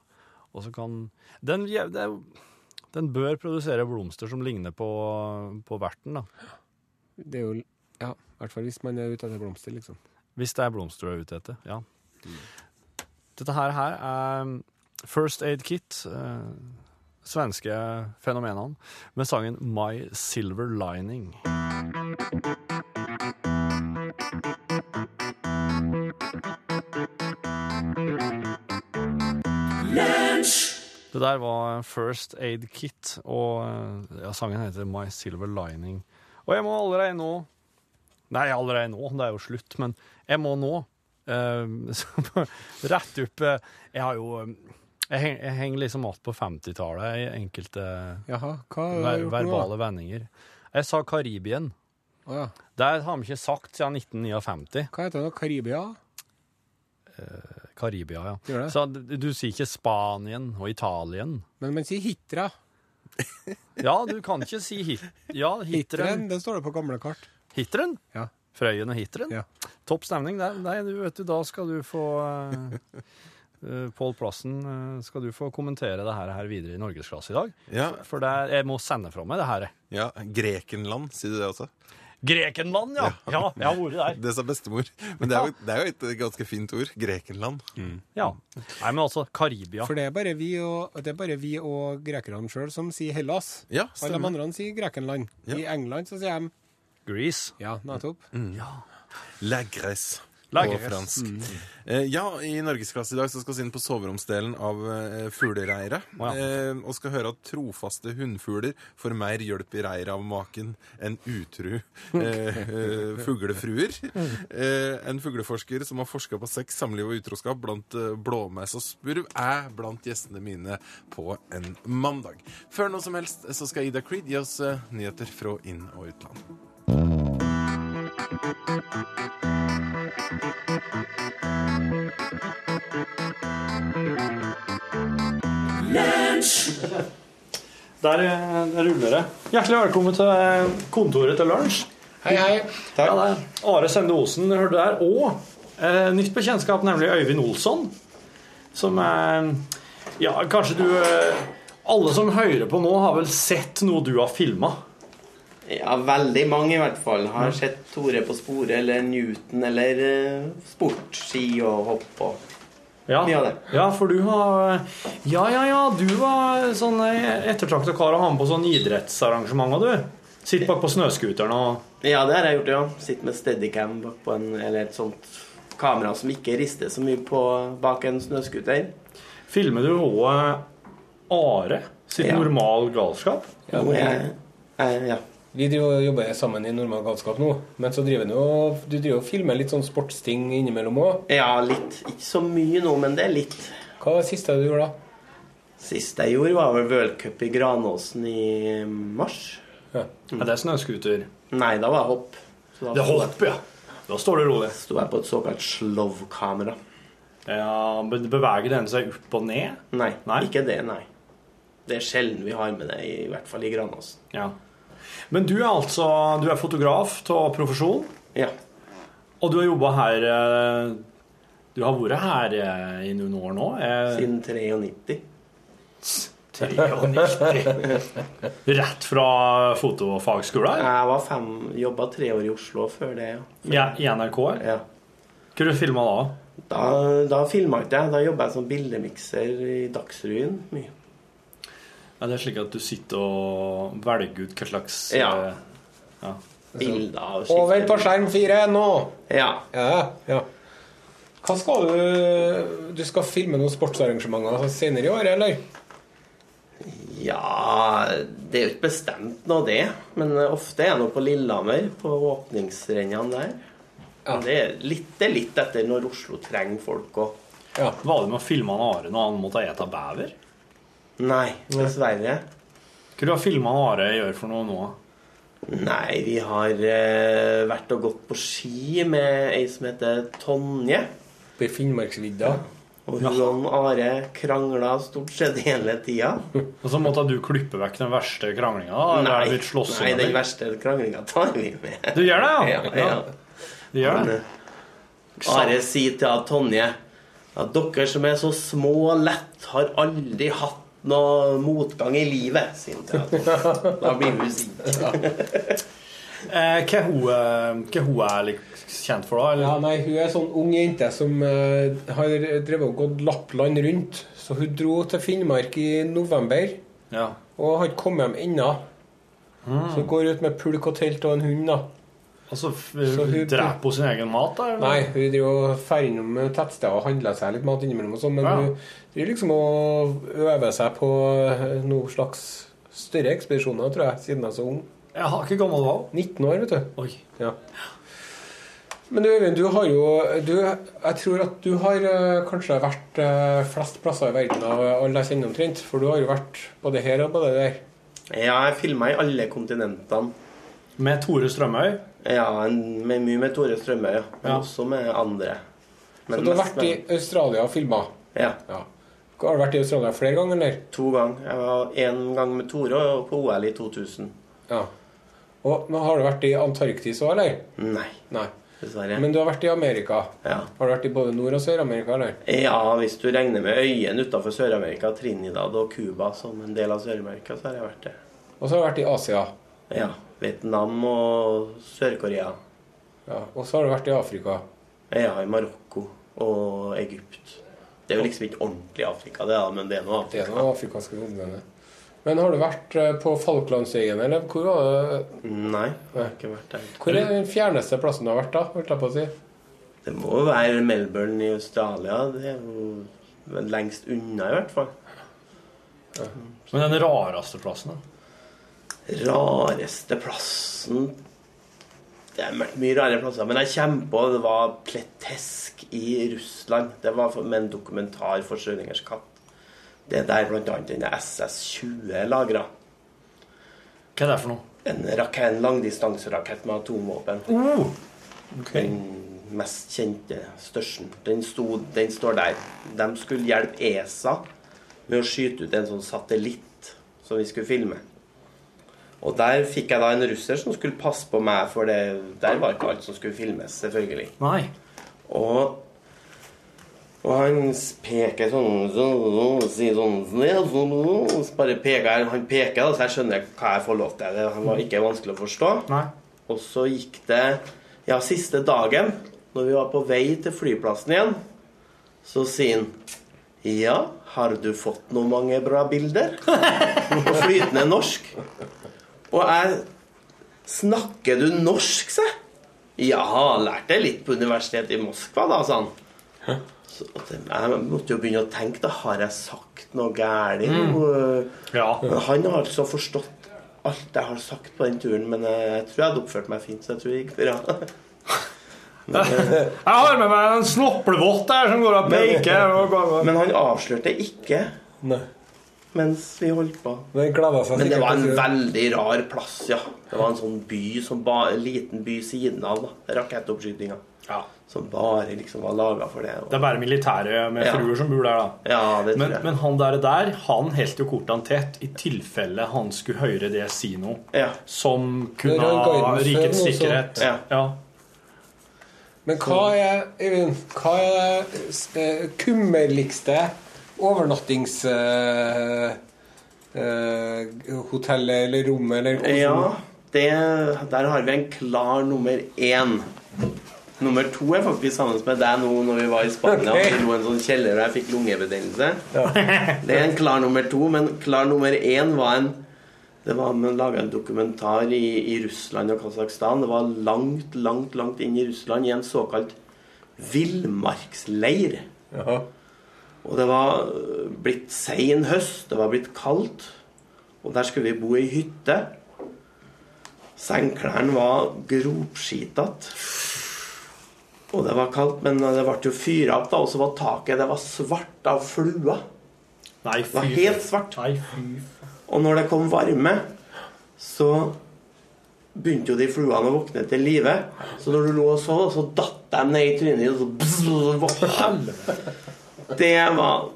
[SPEAKER 3] Og så kan den, je- det er- den bør produsere blomster som ligner på, på verten, da.
[SPEAKER 2] Det er jo Ja, i hvert fall hvis man er ute etter blomster, liksom.
[SPEAKER 3] Hvis det er blomster du er ute etter, ja. Dette her, her er um, First Aid Kit, eh, svenske fenomenene, med sangen My Silver Lining. Det der var First Aid Kit, og eh, ja, sangen heter My Silver Lining. Og jeg må allerede nå Nei, allerede nå, det er jo slutt, men jeg må nå eh, (laughs) så rett opp eh, Jeg har jo eh, Jeg, heng, jeg henger liksom alt på 50-tallet i enkelte
[SPEAKER 2] Jaha, hva har
[SPEAKER 3] ver
[SPEAKER 2] du gjort nå?
[SPEAKER 3] verbale vendinger. Jeg sa Karibien.
[SPEAKER 2] Å ja.
[SPEAKER 3] Det har vi ikke sagt siden 1959.
[SPEAKER 2] Hva heter det nå? Karibia?
[SPEAKER 3] Karibia, ja.
[SPEAKER 2] Gjør det?
[SPEAKER 3] Så du, du sier ikke Spanien og Italien.
[SPEAKER 2] Men man sier hitra.
[SPEAKER 3] Ja, du kan ikke si hit... Ja,
[SPEAKER 2] Hitren,
[SPEAKER 3] Hitren.
[SPEAKER 2] det står det på gamle kart.
[SPEAKER 3] Hitren?
[SPEAKER 2] Ja.
[SPEAKER 3] Frøyen og Hitren?
[SPEAKER 2] Ja.
[SPEAKER 3] Topp stemning der. Nei, du vet du, da skal du få eh, Pål Plassen, eh, skal du få kommentere det her, her videre i norgesklasse i dag?
[SPEAKER 5] Ja,
[SPEAKER 3] For det er, jeg må sende fra meg det her.
[SPEAKER 5] ja. Grekenland, sier du det også?
[SPEAKER 3] Grekenland, ja! Ja, jeg har vært der.
[SPEAKER 5] Det sa bestemor. Men det er, jo, det er jo et ganske fint ord. Grekenland.
[SPEAKER 3] Ja. Nei, men altså, Karibia.
[SPEAKER 2] For det er bare vi og, det er bare vi og grekerne sjøl som sier Hellas.
[SPEAKER 5] Ja,
[SPEAKER 2] Alle de
[SPEAKER 5] stemmer.
[SPEAKER 2] andre sier Grekenland. I England så sier de
[SPEAKER 3] Greece.
[SPEAKER 2] Ja, nettopp.
[SPEAKER 5] Mm. La Gresse.
[SPEAKER 3] La
[SPEAKER 5] På
[SPEAKER 3] Gresse.
[SPEAKER 5] fransk.
[SPEAKER 3] Mm.
[SPEAKER 5] Eh, ja, i Norgesklasse i dag så skal vi inn på soveromsdelen av eh, fuglereiret.
[SPEAKER 3] Å, ja.
[SPEAKER 5] eh, og skal høre at trofaste hunnfugler får mer hjelp i reiret av maken enn utru eh, eh, fuglefruer. Eh, en fugleforsker som har forska på sex, samliv og utroskap blant eh, blåmeis og spurv, er blant gjestene mine på en mandag. Før noe som helst så skal Ida Creed gi oss eh, nyheter fra inn- og utland.
[SPEAKER 3] Der, eh, der ruller det. Hjertelig velkommen til eh, kontoret til lunsj.
[SPEAKER 2] Hei, hei.
[SPEAKER 3] Ja, det er Are Sende Osen hørte du der. Og eh, nytt bekjentskap, nemlig Øyvind Olsson. Som er Ja, kanskje du eh, Alle som hører på nå, har vel sett noe du har filma?
[SPEAKER 6] Ja, veldig mange i hvert fall. Har sett Tore på sporet, eller Newton, eller eh, sport, ski og hopp og
[SPEAKER 3] Ja.
[SPEAKER 6] Mye av det.
[SPEAKER 3] ja, for du har eh, Ja, ja, ja. Du var sånn ettertrakta kar å ha med på sånn idrettsarrangementer, du. Sitt bak på snøscooteren og
[SPEAKER 6] Ja, det har jeg gjort, ja. Sitter med steadycam bak på en Eller et sånt kamera som ikke rister så mye på bak en snøscooter.
[SPEAKER 3] Filmer du òg Are sitt
[SPEAKER 6] Ja.
[SPEAKER 3] normal galskap?
[SPEAKER 2] Ja,
[SPEAKER 6] Og jeg, jeg, Eh, ja.
[SPEAKER 2] Vi driver og jobber sammen i normal galskap nå, men så driver du og, du driver og filmer litt sånn sportsting innimellom òg.
[SPEAKER 6] ja, litt. Ikke så mye nå, men det er litt.
[SPEAKER 2] Hva var det siste du gjorde da?
[SPEAKER 6] Sist jeg gjorde, var vel World Cup i Granåsen i eh, mars.
[SPEAKER 3] Ja, det er snøscooter.
[SPEAKER 6] Nei, da var jeg hopp. Så da
[SPEAKER 3] Mm. Det er hopp, ja. Da står du rolig.
[SPEAKER 6] sto jeg på et såkalt slow-kamera.
[SPEAKER 3] Ja, men Beveger den seg opp og ned?
[SPEAKER 6] Nei,
[SPEAKER 3] Nei?
[SPEAKER 6] ikke det, nei. Det er sjelden vi har med det, i hvert fall i Granåsen.
[SPEAKER 3] Ja. Men du er altså du er fotograf av profesjon,
[SPEAKER 6] Ja.
[SPEAKER 3] og du har jobba her eh, Du har vært her eh, i noen år nå? eh,
[SPEAKER 6] Siden 93.
[SPEAKER 3] 93. (laughs) Rett fra fotofagskolen?
[SPEAKER 6] Jeg var fem, jobba tre år i Oslo før det. ja.
[SPEAKER 3] Ja, I NRK? eller?
[SPEAKER 6] Ja.
[SPEAKER 3] Hva du filma da?
[SPEAKER 6] Da, da filma ikke jeg. Da jobba jeg som bildemikser i Dagsrevyen mye.
[SPEAKER 3] Ja, det er slik at du sitter og velger ut hva slags
[SPEAKER 6] Ja.
[SPEAKER 3] eh, ja.
[SPEAKER 6] Bilder og
[SPEAKER 2] Over på skjerm fire nå!
[SPEAKER 6] Ja.
[SPEAKER 2] Ja, ja. Hva skal du Du skal filme noen sportsarrangementer senere i år, eller?
[SPEAKER 6] ja Det er jo ikke bestemt nå, det. Men eh, ofte er jeg nå på Lillehammer, på åpningsrennene der.
[SPEAKER 2] Ja.
[SPEAKER 6] Men Det er litt, det er litt etter når Oslo trenger folk òg.
[SPEAKER 2] Ja.
[SPEAKER 3] Var det med å filme han Are når han måtte ete bever?
[SPEAKER 6] Nei, dessverre.
[SPEAKER 3] Hva du har filma han Are gjør for noe nå?
[SPEAKER 6] Nei, vi har eh, vært og gått på ski med ei som heter Tonje.
[SPEAKER 2] På Finnmarksvidda.
[SPEAKER 6] Og hun og Are krangla stort sett hele tida.
[SPEAKER 3] Og så måtte du klippe vekk den verste kranglinga? da, eller er det
[SPEAKER 6] Nei,
[SPEAKER 3] blitt slåssing,
[SPEAKER 6] nei, den
[SPEAKER 3] eller?
[SPEAKER 6] verste kranglinga tar vi med.
[SPEAKER 3] Du gjør det, ja?
[SPEAKER 6] Ja, ja. eh,
[SPEAKER 3] Du gjør det.
[SPEAKER 6] Are sier til at Tonje at dere som er så små og lett, har aldri hatt noe motgang i livet. sier hun
[SPEAKER 3] (laughs)
[SPEAKER 6] til Tonje. Da blir hun sint.
[SPEAKER 3] Eh, hva hun, eh, hva hun er litt kjent for, da?
[SPEAKER 2] Ja,
[SPEAKER 3] Eller?
[SPEAKER 2] nei, Hun er en sånn ung jente som eh, har drevet og gått Lappland rundt. Så hun dro til Finnmark i november
[SPEAKER 3] Ja.
[SPEAKER 2] og har ikke kommet hjem ennå. Så hun går ut med pulk og telt og en hund, da.
[SPEAKER 3] Og så f-
[SPEAKER 2] hun-
[SPEAKER 3] dreper hun sin egen mat, da? eller?
[SPEAKER 2] Nei, hun driver og drar innom eh, tettsteder og handler seg litt mat innimellom og sånn, men
[SPEAKER 3] Ja.
[SPEAKER 2] hun driver liksom og øver seg på eh, noe slags større ekspedisjoner, tror jeg, siden hun er så ung.
[SPEAKER 3] Jeg har ikke gammel hval.
[SPEAKER 2] 19 år, vet du.
[SPEAKER 3] Oi.
[SPEAKER 2] Ja. Men du Øyvind, du har jo du, Jeg tror at du har eh, kanskje vært eh, flest plasser i verden av alle jeg kjenner omtrent. For du har jo vært både her og både der.
[SPEAKER 6] Ja, jeg filma i alle kontinentene.
[SPEAKER 3] Med Tore Strømøy.
[SPEAKER 6] Ja, en, med mye med Tore Strømøy, ja. Men
[SPEAKER 3] Ja.
[SPEAKER 6] også med andre.
[SPEAKER 2] Så
[SPEAKER 6] Men
[SPEAKER 2] du har
[SPEAKER 6] mest
[SPEAKER 2] vært i
[SPEAKER 6] med-
[SPEAKER 2] Australia og filma.
[SPEAKER 6] Ja,
[SPEAKER 2] Ja. Har du vært i Australia flere ganger, eller?
[SPEAKER 6] to ganger. Jeg var en gang med Tore og på OL i 2000.
[SPEAKER 2] Ja. Og, men har du vært i Antarktis òg, eller?
[SPEAKER 6] Nei,
[SPEAKER 2] Nei.
[SPEAKER 6] dessverre.
[SPEAKER 2] Men du har vært i Amerika.
[SPEAKER 6] Ja.
[SPEAKER 2] Har du vært i både Nord- og Sør-Amerika, eller?
[SPEAKER 6] ja, hvis du regner med øyene utenfor Sør-Amerika, Trinidad og Cuba som en del av Sør-Amerika, så har jeg vært det.
[SPEAKER 2] Og så har du vært i Asia.
[SPEAKER 6] Ja. Vietnam og Sør-Korea.
[SPEAKER 2] Ja. Og så har du vært i Afrika.
[SPEAKER 6] Ja, i Marokko og Egypt. Det er jo liksom ikke ordentlig Afrika, det da, men det er noe
[SPEAKER 2] Det er
[SPEAKER 6] Afrika.
[SPEAKER 2] noe afrikanske kontinentet. Men har du vært eh, på Falklandsøyene, eller hvor var det
[SPEAKER 6] Nei, jeg har ikke vært der.
[SPEAKER 2] Hvor er den fjerneste plassen du har vært, da? Holdt jeg på å si.
[SPEAKER 6] Det må jo være Melbourne i Australia. Det er jo lengst unna, i hvert fall.
[SPEAKER 3] Men den rareste plassen, da?
[SPEAKER 6] Rareste plassen Det har vært mye rare plasser. Men jeg kommer på det var Pletesk i Russland. Det var for- med en dokumentar for Schrødingers katt. Det er der bl.a. denne SS-20 er lagra.
[SPEAKER 3] Hva er det for noe?
[SPEAKER 6] En, rak- en langdistanserakett med atomvåpen.
[SPEAKER 3] Oh!
[SPEAKER 6] Den mest kjente størsten. Den, sto, den står der. De skulle hjelpe ESA med å skyte ut en sånn satellitt som vi skulle filme. Og der fikk jeg da en russer som skulle passe på meg, for det, der var ikke alt som skulle filmes, selvfølgelig.
[SPEAKER 3] Nei.
[SPEAKER 6] Og, og han peker sånn, sånn, sånn Sier sånn, sånn, sånn, sånn så Bare peker han peker, da, så jeg skjønner hva jeg får lov til. Det var ikke vanskelig å forstå.
[SPEAKER 3] Nei.
[SPEAKER 6] Og så gikk det Ja, siste dagen, når vi var på vei til flyplassen igjen, så sier han Ja, har du fått noe mange bra bilder? (laughs) På flytende norsk. Og jeg Snakker du norsk, sa jeg? Ja, lærte jeg litt på universitetet i Moskva, da, sa han. Så, og det- jeg måtte jo begynne å tenke. Da har jeg sagt noe galt?
[SPEAKER 3] Ja.
[SPEAKER 6] Men han har altså forstått alt jeg har sagt på den turen, men jeg, jeg tror jeg hadde oppført meg fint, så jeg tror det gikk bra. (laughs)
[SPEAKER 3] Jeg har med meg en snoppelvott der som går og peker. og går-
[SPEAKER 2] (laughs)
[SPEAKER 6] Men han avslørte ikke
[SPEAKER 2] Nei.
[SPEAKER 6] mens vi holdt på.
[SPEAKER 2] Den gleda seg
[SPEAKER 6] Men det var
[SPEAKER 2] til
[SPEAKER 6] en
[SPEAKER 2] å-
[SPEAKER 6] veldig rar plass, ja. Det var en sånn by som ba, en liten by siden av da, rakettoppskytinga.
[SPEAKER 3] Ja.
[SPEAKER 6] Som bare liksom var laga for det.
[SPEAKER 3] Det
[SPEAKER 6] Og,
[SPEAKER 3] er bare militære med
[SPEAKER 6] Ja.
[SPEAKER 3] fruer som bor der, da.
[SPEAKER 6] ja, det
[SPEAKER 3] Men,
[SPEAKER 6] tror jeg.
[SPEAKER 3] men han der, der han holdt jo kortene tett i tilfelle han skulle høre det si noe
[SPEAKER 6] ja.
[SPEAKER 3] som
[SPEAKER 2] Det
[SPEAKER 3] kunne
[SPEAKER 2] er en
[SPEAKER 3] ha
[SPEAKER 2] guidance for
[SPEAKER 3] rikets
[SPEAKER 2] noe
[SPEAKER 3] sikkerhet.
[SPEAKER 6] sånt. Ja.
[SPEAKER 2] Men hva er, Øyvind, hva er det s- eh, kummerligste overnattingshotellet eh, eller rommet eller hvordan-
[SPEAKER 6] ja det, der har vi en klar nummer én. Nummer to er faktisk sammen med deg nå når vi var i Spania.
[SPEAKER 2] Ok.
[SPEAKER 6] Vi lå i en sånn kjeller og jeg fikk lungebetennelse. (laughs) Det er en klar nummer to, men klar nummer én var en Det var Man laga en dokumentar i, i Russland og Kasakhstan. Det var langt, langt, langt inn i Russland, i en såkalt villmarksleir.
[SPEAKER 2] Jaha.
[SPEAKER 6] Og det var øh, blitt sein høst, det var blitt kaldt. Og der skulle vi bo i hytte. Sengklærne var gropskitete. Og det var kaldt, men det ble jo fyra opp, da. Og så var taket det var svart av flua.
[SPEAKER 3] Nei,
[SPEAKER 6] Det var
[SPEAKER 3] fy
[SPEAKER 6] helt svart.
[SPEAKER 3] Nei, fy
[SPEAKER 6] Og når det kom varme, så begynte jo de fluene å våkne til live. Så når du lå og sov, så datt de ned i trynet ditt, og så bzz, så våkna de. Det var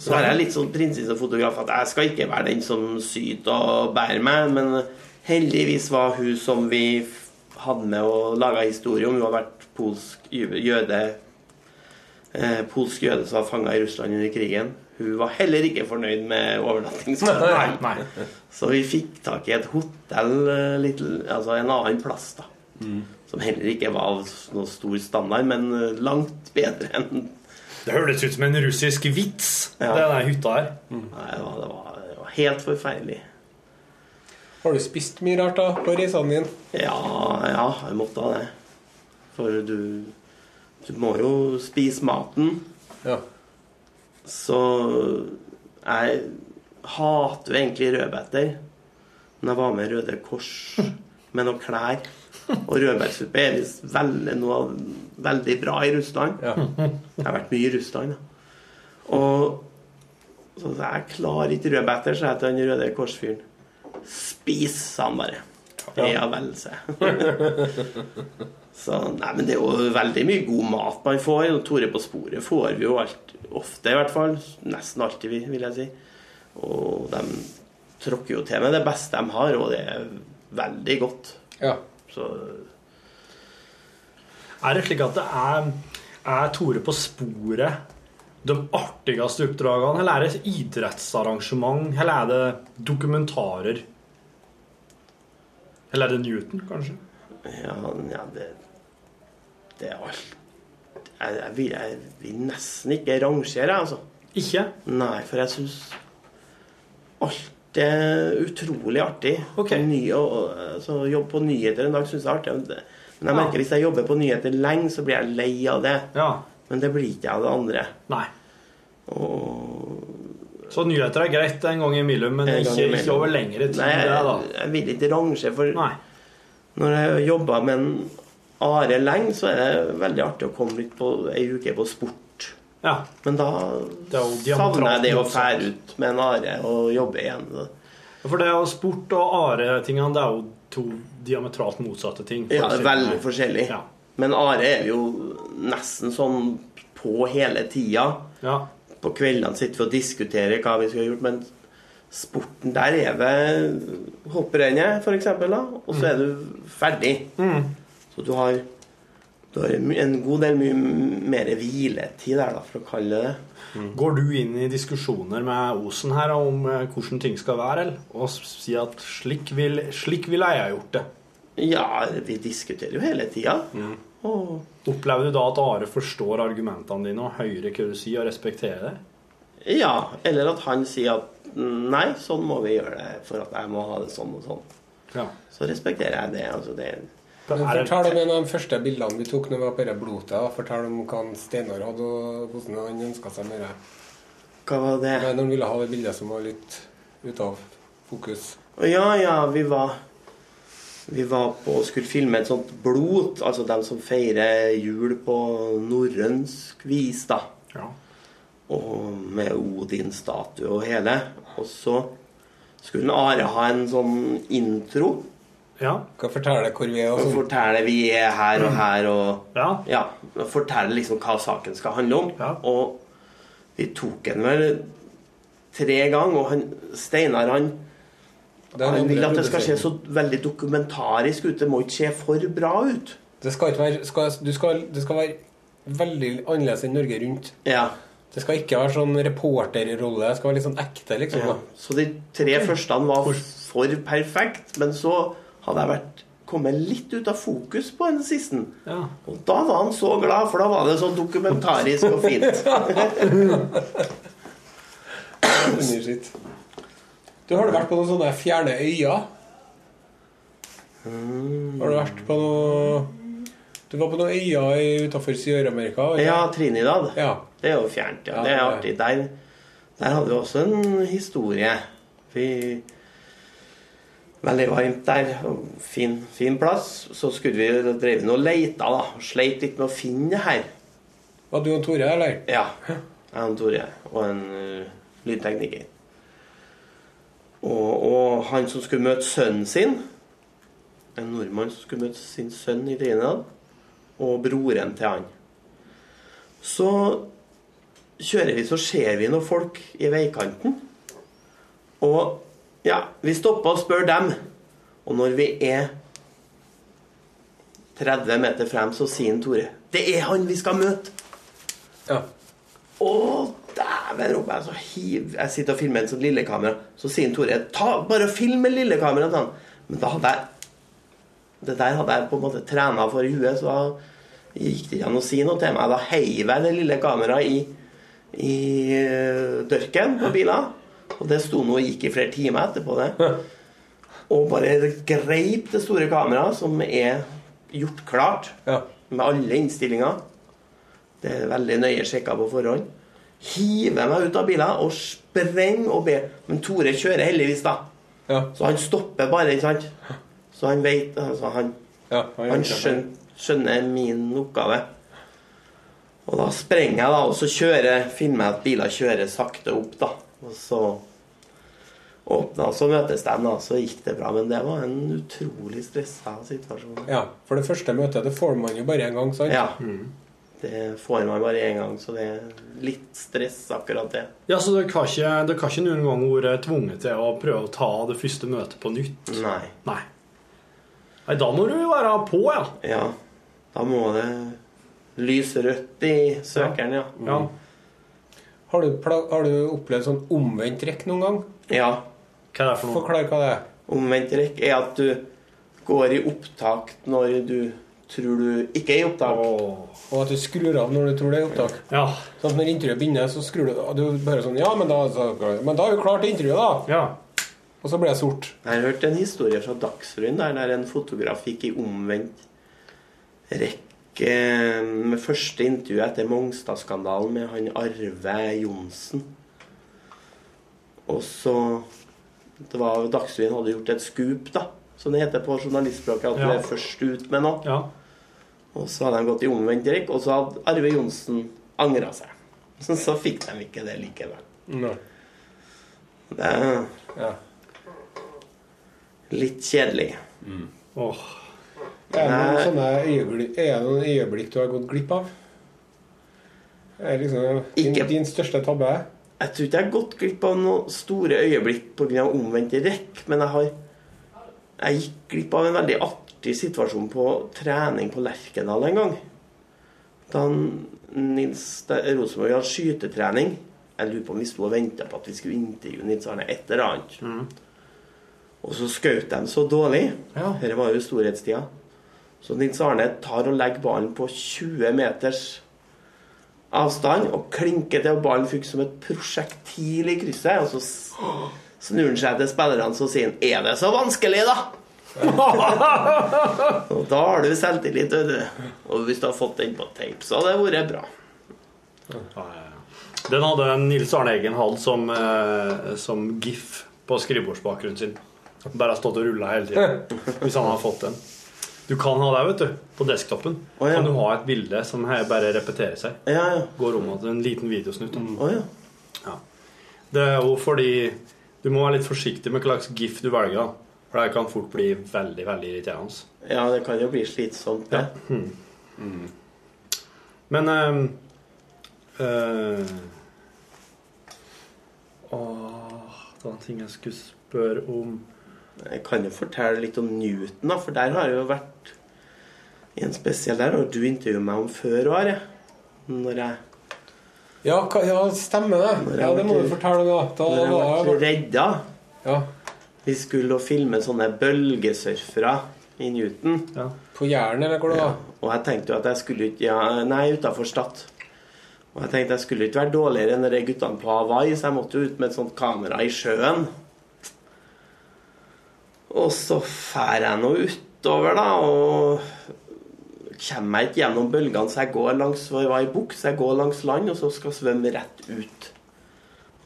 [SPEAKER 6] Så er jeg litt sånn prinsessefotograf at jeg skal ikke være den som syter og bærer meg, men heldigvis var hun som vi f- hadde med og laga historie om, hun har vært polsk jø- jøde eh, polsk jøde som var fanga i Russland under krigen. Hun var heller ikke fornøyd med overnattingsplanen.
[SPEAKER 3] Nei, nei.
[SPEAKER 6] Så vi fikk tak i et hotell eh, litt, altså en annen plass, da.
[SPEAKER 3] Mm.
[SPEAKER 6] Som heller ikke var av s- noe stor standard, men eh, langt bedre enn
[SPEAKER 3] Det høres ut som en russisk vits,
[SPEAKER 6] Ja.
[SPEAKER 3] det der hytta her.
[SPEAKER 6] Nei, det var, det var, det var helt forferdelig.
[SPEAKER 2] Har du spist mye rart da på reisene dine?
[SPEAKER 6] Ja, ja, jeg måtte ha det. For du Du må jo spise maten.
[SPEAKER 2] Ja.
[SPEAKER 6] Så jeg hater jo egentlig rødbeter. Men jeg var med Røde Kors med noen klær. Og rødbetsuppe er visst veldig, noe av- veldig bra i Russland.
[SPEAKER 2] Ja.
[SPEAKER 6] Jeg har vært mye i Russland. Da. Og så sa jeg jeg klarer ikke rødbeter, sa jeg til den Røde Kors-fyren. Spis, sa han bare. Ja vel, sa jeg. Så nei, men det er jo veldig mye god mat man får. Og Tore på sporet får vi jo alt, ofte, i hvert fall. Nesten alltid, vil- vil jeg si. Og de tråkker jo til med det beste de har, og det er veldig godt.
[SPEAKER 2] ja.
[SPEAKER 6] Så
[SPEAKER 3] Er det slik at det er, er Tore på sporet de artigste oppdragene, eller er det idrettsarrangement, eller er det dokumentarer? Eller er det Newton, kanskje?
[SPEAKER 6] Ja, ja det, det er alt jeg, jeg, vil, jeg vil nesten ikke rangere, jeg, altså.
[SPEAKER 3] Ikke?
[SPEAKER 6] Nei, for jeg syns alt er utrolig artig.
[SPEAKER 3] Ok.
[SPEAKER 6] På Ny, og, og, altså, å jobbe på nyheter en dag syns jeg er artig. men det- Men jeg
[SPEAKER 3] Ja.
[SPEAKER 6] merker hvis jeg jobber på nyheter lenge, så blir jeg lei av det.
[SPEAKER 3] Ja.
[SPEAKER 6] Men det blir ikke jeg av det andre.
[SPEAKER 3] Nei.
[SPEAKER 6] Og
[SPEAKER 3] Så nyheter er greit en gang imellom, men
[SPEAKER 6] En gang
[SPEAKER 3] ikke,
[SPEAKER 6] imellom.
[SPEAKER 3] ikke over lengre tid.
[SPEAKER 6] Nei,
[SPEAKER 3] det, da.
[SPEAKER 6] jeg, jeg vil ikke rangere, for
[SPEAKER 3] Nei.
[SPEAKER 6] når jeg jobber med en Are lenge, så er det veldig artig å komme litt på ei uke på sport.
[SPEAKER 3] Ja.
[SPEAKER 6] Men da
[SPEAKER 3] Det er jo
[SPEAKER 6] savner jeg det å
[SPEAKER 3] diametralt
[SPEAKER 6] fære ut med en Are og jobbe igjen.
[SPEAKER 3] For det og sport og are-tingene, det er jo to diametralt motsatte ting.
[SPEAKER 6] Ja, det er veldig forskjellig.
[SPEAKER 3] sånn. Ja.
[SPEAKER 6] Men Are er jo nesten sånn på hele tida.
[SPEAKER 3] Ja.
[SPEAKER 6] På kveldene sitter vi og diskuterer hva vi skulle ha gjort, men sporten der er ved hopprennet, for eksempel, da. Og så er du ferdig. Så du har, du har en en god del mye mer hviletid der, da, for å kalle det det.
[SPEAKER 3] Går du inn i diskusjoner med Osen her om eh, hvordan ting skal være, eller? Og s- si at slik, vil, 'slik ville jeg ha gjort det'?
[SPEAKER 6] Ja, vi diskuterer jo hele tida. Og
[SPEAKER 3] Opplever du da at Are forstår argumentene dine og hører hva du sier, og respekterer det?
[SPEAKER 6] Ja, eller at han sier at nei, sånn må vi gjøre det for at jeg må ha det sånn og sånn.
[SPEAKER 3] Ja.
[SPEAKER 6] Så respekterer jeg det. Altså det
[SPEAKER 2] Men
[SPEAKER 3] Er det-
[SPEAKER 2] Fortell om en av de første bildene vi tok når vi var på dette blotet. da. Fortell om hva han Steinar hadde, og hvordan han ønska seg med det.
[SPEAKER 6] Hva var det?
[SPEAKER 2] Nei, når han ville ha det bildet som var litt ute av fokus.
[SPEAKER 6] Å, Ja, ja, vi var Vi var på og skulle filme et sånt blot, altså dem som feirer jul på norrønsk vis, da.
[SPEAKER 3] Ja.
[SPEAKER 6] Og med Odin-statue og hele. Og så skulle Are ha en sånn intro
[SPEAKER 3] Ja.
[SPEAKER 2] Hva forteller hvor vi er og
[SPEAKER 6] og
[SPEAKER 2] sånn.
[SPEAKER 6] fortelle vi er her og her og
[SPEAKER 3] ja.
[SPEAKER 6] ja, fortelle liksom hva saken skal handle om.
[SPEAKER 3] Ja.
[SPEAKER 6] Og vi tok den vel tre ganger, og han, Steinar han,
[SPEAKER 2] Det er
[SPEAKER 6] han
[SPEAKER 2] en
[SPEAKER 6] vil
[SPEAKER 2] andre
[SPEAKER 6] at det skal se
[SPEAKER 2] produsering.
[SPEAKER 6] så veldig dokumentarisk ut. Det må ikke se for bra ut.
[SPEAKER 2] Det skal ikke være skal, du skal, Det skal være veldig annerledes enn Norge Rundt.
[SPEAKER 6] Ja.
[SPEAKER 2] Det skal ikke være sånn reporterrolle. Det skal være litt sånn ekte, liksom.
[SPEAKER 6] ja.
[SPEAKER 2] da.
[SPEAKER 6] Så de tre første var for perfekt, men så hadde jeg vært kommet litt ut av fokus på den siste.
[SPEAKER 3] Ja.
[SPEAKER 6] Og da var han så glad, for da var det så dokumentarisk og (laughs) fint.
[SPEAKER 2] Underskitt. Du har du vært på noen sånne fjerne øyer?
[SPEAKER 6] Mm.
[SPEAKER 2] Har du vært på noe Du var på noen øyer utafor Sør-Amerika? ikke?
[SPEAKER 6] Ja, Trinidad.
[SPEAKER 2] ja.
[SPEAKER 6] Det er jo fjernt, ja.
[SPEAKER 2] Ja,
[SPEAKER 6] Det er
[SPEAKER 2] det
[SPEAKER 6] artig. Der, der hadde vi også en historie. Vi Veldig varmt der. og Fin, fin plass. Så skulle vi da drev vi nå og leita, da. og Sleit litt med å finne det her.
[SPEAKER 2] Var du og Tore, eller?
[SPEAKER 6] Ja. Jeg og Tore og en ø, lydtekniker. Og, og han som skulle møte sønnen sin En nordmann som skulle møte sin sønn i Trinidad. Og broren til han. Så kjører vi, så ser vi noen folk i veikanten. Og ja, vi stopper og spør dem. Og når vi er 30 meter frem, så sier han Tore Det er han vi skal møte!
[SPEAKER 2] Ja.
[SPEAKER 6] Å, dæven, roper jeg. Så hiv Jeg sitter og filmer en sånn lillekamera. Så sier Tore ta, bare film med lillekamera. sa han. Men da hadde jeg Det der hadde jeg på en måte trena for i huet, så da gikk det ikke an å si noe til meg. Da heiv jeg det lille kameraet i, i eh, dørken på bilen. Og det sto nå og gikk i flere timer etterpå, det. Og bare greip det store kameraet, som er gjort klart
[SPEAKER 2] ja.
[SPEAKER 6] med alle innstillinger. Det er veldig nøye sjekka på forhånd. Hiver meg ut av bilen og sprenger og ber. Men Tore kjører heldigvis, da.
[SPEAKER 2] Ja.
[SPEAKER 6] Så han stopper bare, ikke sant? Så han vet altså han,
[SPEAKER 2] ja.
[SPEAKER 6] han skjøn, skjønner min oppgave. Og da sprenger jeg, da, og så kjører, filmer jeg at biler kjører sakte opp, da. Og så åpna, så møtes de, da. Så gikk det bra. Men det var en utrolig stressa situasjon.
[SPEAKER 2] Ja, For det første møtet det får man jo bare én gang, sant?
[SPEAKER 6] Ja. Det får man bare én gang, så det er litt stress akkurat det.
[SPEAKER 3] ja, så dere har ikke, dere har ikke noen gang vært tvunget til å prøve å ta det første møtet på nytt?
[SPEAKER 6] Nei.
[SPEAKER 3] Nei. Nei, da må du jo være på, ja.
[SPEAKER 6] Ja. Da må det lyse rødt i søkeren, ja.
[SPEAKER 3] ja.
[SPEAKER 2] Har, du pla har du opplevd sånn omvendt rekk noen gang?
[SPEAKER 6] Ja.
[SPEAKER 3] Hva er det for noe?
[SPEAKER 2] Forklar hva det er.
[SPEAKER 6] Omvendt rekk er at du går i opptak når du tror du ikke er i opptak.
[SPEAKER 2] Og at du skrur av når du tror det er opptak.
[SPEAKER 3] Ja.
[SPEAKER 2] Sånn at Når intervjuet begynner, så skrur du og Du bare sånn Ja, men da, så, men da er jo klart intervjuet,
[SPEAKER 3] ja.
[SPEAKER 2] da! Og så blir det sort.
[SPEAKER 6] Jeg har hørt en historie fra Dagsrevyen der, der en fotograf gikk i omvendt rekke eh, med første intervju etter Mongstad-skandalen med han Arve Johnsen. Og så det var, Dagsrevyen hadde gjort et skup, da, som det heter på journalistspråket. At du
[SPEAKER 3] Ja.
[SPEAKER 6] er først ut med noe.
[SPEAKER 3] ja.
[SPEAKER 6] Og så hadde de gått i omvendt rekke, og så hadde Arve Johnsen angra seg. (laughs) Så, så fikk de ikke det likevel.
[SPEAKER 2] Nei.
[SPEAKER 6] Det er
[SPEAKER 2] Ja.
[SPEAKER 6] litt kjedelig.
[SPEAKER 3] Åh.
[SPEAKER 2] Er det noen
[SPEAKER 6] Nei.
[SPEAKER 2] sånne øyeblikk, er det noen øyeblikk du har gått glipp av? Er det liksom din,
[SPEAKER 6] Ikke.
[SPEAKER 2] din største tabbe?
[SPEAKER 6] Jeg tror ikke jeg har gått glipp av noen store øyeblikk pga. omvendt rekk, men jeg har Jeg gikk glipp av en veldig artig situasjon på trening på Lerkendal en gang. Da han- Nils da Rosenborg hadde skytetrening Jeg lurer på om vi sto og venta på at vi skulle intervjue Nils Arne et eller annet. Og så skjøt de så dårlig.
[SPEAKER 2] Ja.
[SPEAKER 6] Dette var jo storhetstida. Så Nils Arne tar og legger ballen på 20 meters avstand og klinker til, og ballen fikk som et prosjektil i krysset. Og så s- snur han seg til spillerne så sier han 'Er det så vanskelig, (laughs) da?' og da har du selvtillit, vet du. Og hvis du har fått den på tape, så hadde det vært bra.
[SPEAKER 3] Den hadde Nils Arne Eggen hatt som, eh, som gif på skrivebordsbakgrunnen sin. Bare har stått og rulla hele
[SPEAKER 6] (laughs)
[SPEAKER 3] tiden. Hvis han har fått den. Du kan ha det, vet du. På desktopen.
[SPEAKER 6] Å, ja.
[SPEAKER 3] Kan du ha et bilde som he- bare repeterer seg.
[SPEAKER 6] Ja, ja.
[SPEAKER 3] Går om at en liten videosnutt.
[SPEAKER 6] Å ja.
[SPEAKER 3] Ja. Det er jo fordi du må være litt forsiktig med hva slags gif du velger. da. For det kan fort bli veldig, veldig irriterende.
[SPEAKER 6] Ja, det kan jo bli slitsomt, det.
[SPEAKER 3] Men ehm, eh, Åh, det var en ting jeg skulle spørre om.
[SPEAKER 6] Jeg kan jo fortelle litt om Newton, da, for der har jeg jo vært i en spesiell der, og du intervjuet meg om før òg, Are. Når jeg,
[SPEAKER 2] Ja, hva- ja, stemmer det.
[SPEAKER 6] Når jeg
[SPEAKER 2] Ja, Det må
[SPEAKER 6] ble-
[SPEAKER 2] du fortelle om, da. da,
[SPEAKER 6] når jeg
[SPEAKER 2] da
[SPEAKER 6] ble redda.
[SPEAKER 2] ja,
[SPEAKER 6] Vi skulle og filme sånne bølgesurfere i Newton.
[SPEAKER 3] Ja.
[SPEAKER 2] på Jæren, eller hvor det var?
[SPEAKER 6] Og jeg tenkte jo at jeg skulle ikke ja, Nei, utafor Stad. Og jeg tenkte jeg skulle ikke være dårligere enn de guttene på Hawaii, så jeg måtte jo ut med et sånt kamera i sjøen. Og så drar jeg nå utover, da, og kommer jeg ikke gjennom bølgene, så jeg går langs jeg var i bukt, så jeg går langs land, og så skal jeg svømme rett ut.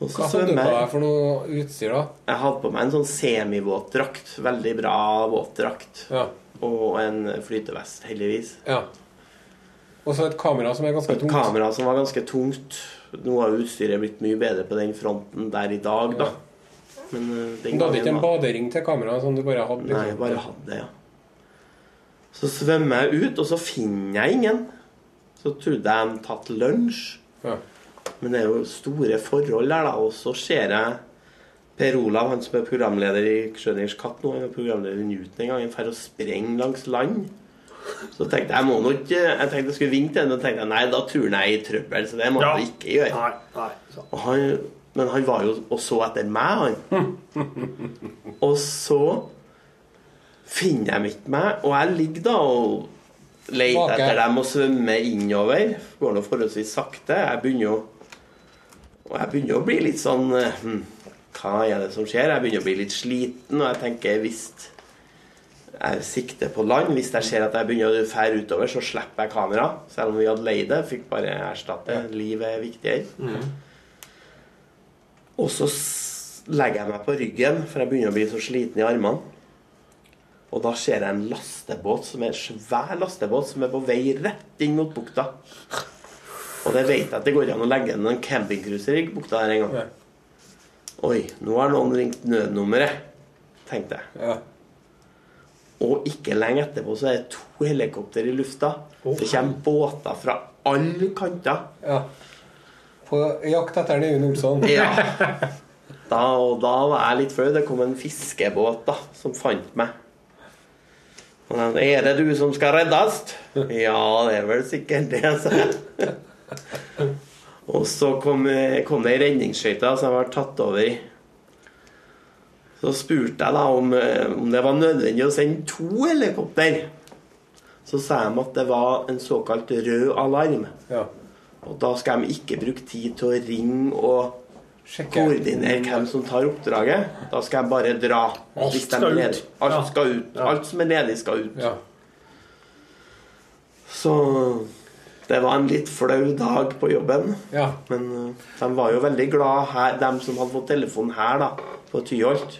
[SPEAKER 6] Og
[SPEAKER 2] Hva
[SPEAKER 6] så
[SPEAKER 2] hadde du på
[SPEAKER 6] svømmer jeg
[SPEAKER 2] deg for noe utstyr, da?
[SPEAKER 6] Jeg hadde på meg en sånn semivåtdrakt. Veldig bra våtdrakt.
[SPEAKER 2] Ja.
[SPEAKER 6] Og en flytevest, heldigvis.
[SPEAKER 2] ja. Og så et kamera som er ganske
[SPEAKER 6] Et
[SPEAKER 2] tungt.
[SPEAKER 6] kamera som var ganske tungt. Nå har jo utstyret blitt mye bedre på den fronten der i dag, da. Men eh, den
[SPEAKER 2] Men Du hadde ikke en
[SPEAKER 6] var-
[SPEAKER 2] badering til kameraet som du bare hadde? liksom.
[SPEAKER 6] Nei, jeg bare hadde det, ja. Så svømmer jeg ut, og så finner jeg ingen. Så trodde jeg de tatt lunsj.
[SPEAKER 2] Ja.
[SPEAKER 6] Men det er jo store forhold der, da. Og så ser jeg Per Olav, han som er programleder i Schrødingers katt nå, han er programleder i Newton en gang, han drar og sprenger langs land. Så tenkte jeg jeg må nå ikke Jeg tenkte jeg skulle vinke til ham, men tenkte jeg, nei, da tror han jeg er i trøbbel, så det må jeg ikke gjøre.
[SPEAKER 3] Nei, nei. Så.
[SPEAKER 6] Og han, men han var jo og så etter meg, han. Og så finner de ikke meg, og jeg ligger da og leter
[SPEAKER 2] Bak her.
[SPEAKER 6] etter dem og svømmer innover. Går nå forholdsvis sakte. Jeg begynner jo Og jeg begynner å bli litt sånn eh, hm, Hva er det som skjer? Jeg begynner å bli litt sliten, og jeg tenker hvis jeg sikter på land Hvis jeg ser at jeg begynner å fære utover, så slipper jeg kamera. Selv om vi hadde leid det. Fikk bare erstatte. Livet er viktigere. Og så s- legger jeg meg på ryggen, for jeg begynner å bli så sliten i armene. Og da ser jeg en lastebåt, som er en svær lastebåt, som er på vei rett inn mot bukta. Og det vet jeg at det går an å legge inn en campingcruiser i bukta her en gang. Oi, nå har noen ringt nødnummeret, tenkte jeg.
[SPEAKER 2] Ja.
[SPEAKER 6] Og ikke lenge etterpå så er det to helikopter i lufta. Det kommer båter fra alle kanter.
[SPEAKER 2] ja. På jakt etter en Øyvind Olsson.
[SPEAKER 6] Ja. Da, og da var jeg litt flau. Det kom en fiskebåt da, som fant meg. Og den 'Er det du som skal reddes?' 'Ja, det er vel sikkert det', sa jeg. Og så kom, kom det ei redningsskøyte som jeg var tatt over i. Så spurte jeg da om, eh, om det var nødvendig å sende to helikopter. Så sa de at det var en såkalt rød alarm.
[SPEAKER 2] Ja.
[SPEAKER 6] Og da skal de ikke bruke tid til å ringe og koordinere hvem som tar oppdraget. Da skal jeg bare dra.
[SPEAKER 3] Alt
[SPEAKER 6] hvis de
[SPEAKER 3] skal ut.
[SPEAKER 6] leder. Alt
[SPEAKER 3] Ja.
[SPEAKER 6] skal ut.
[SPEAKER 3] Ja.
[SPEAKER 6] Alt som er ledig, skal ut.
[SPEAKER 2] Ja.
[SPEAKER 6] Så det var en litt flau dag på jobben.
[SPEAKER 2] ja.
[SPEAKER 6] Men eh, de var jo veldig glad her, de som hadde fått telefon her, da, på Tyholt,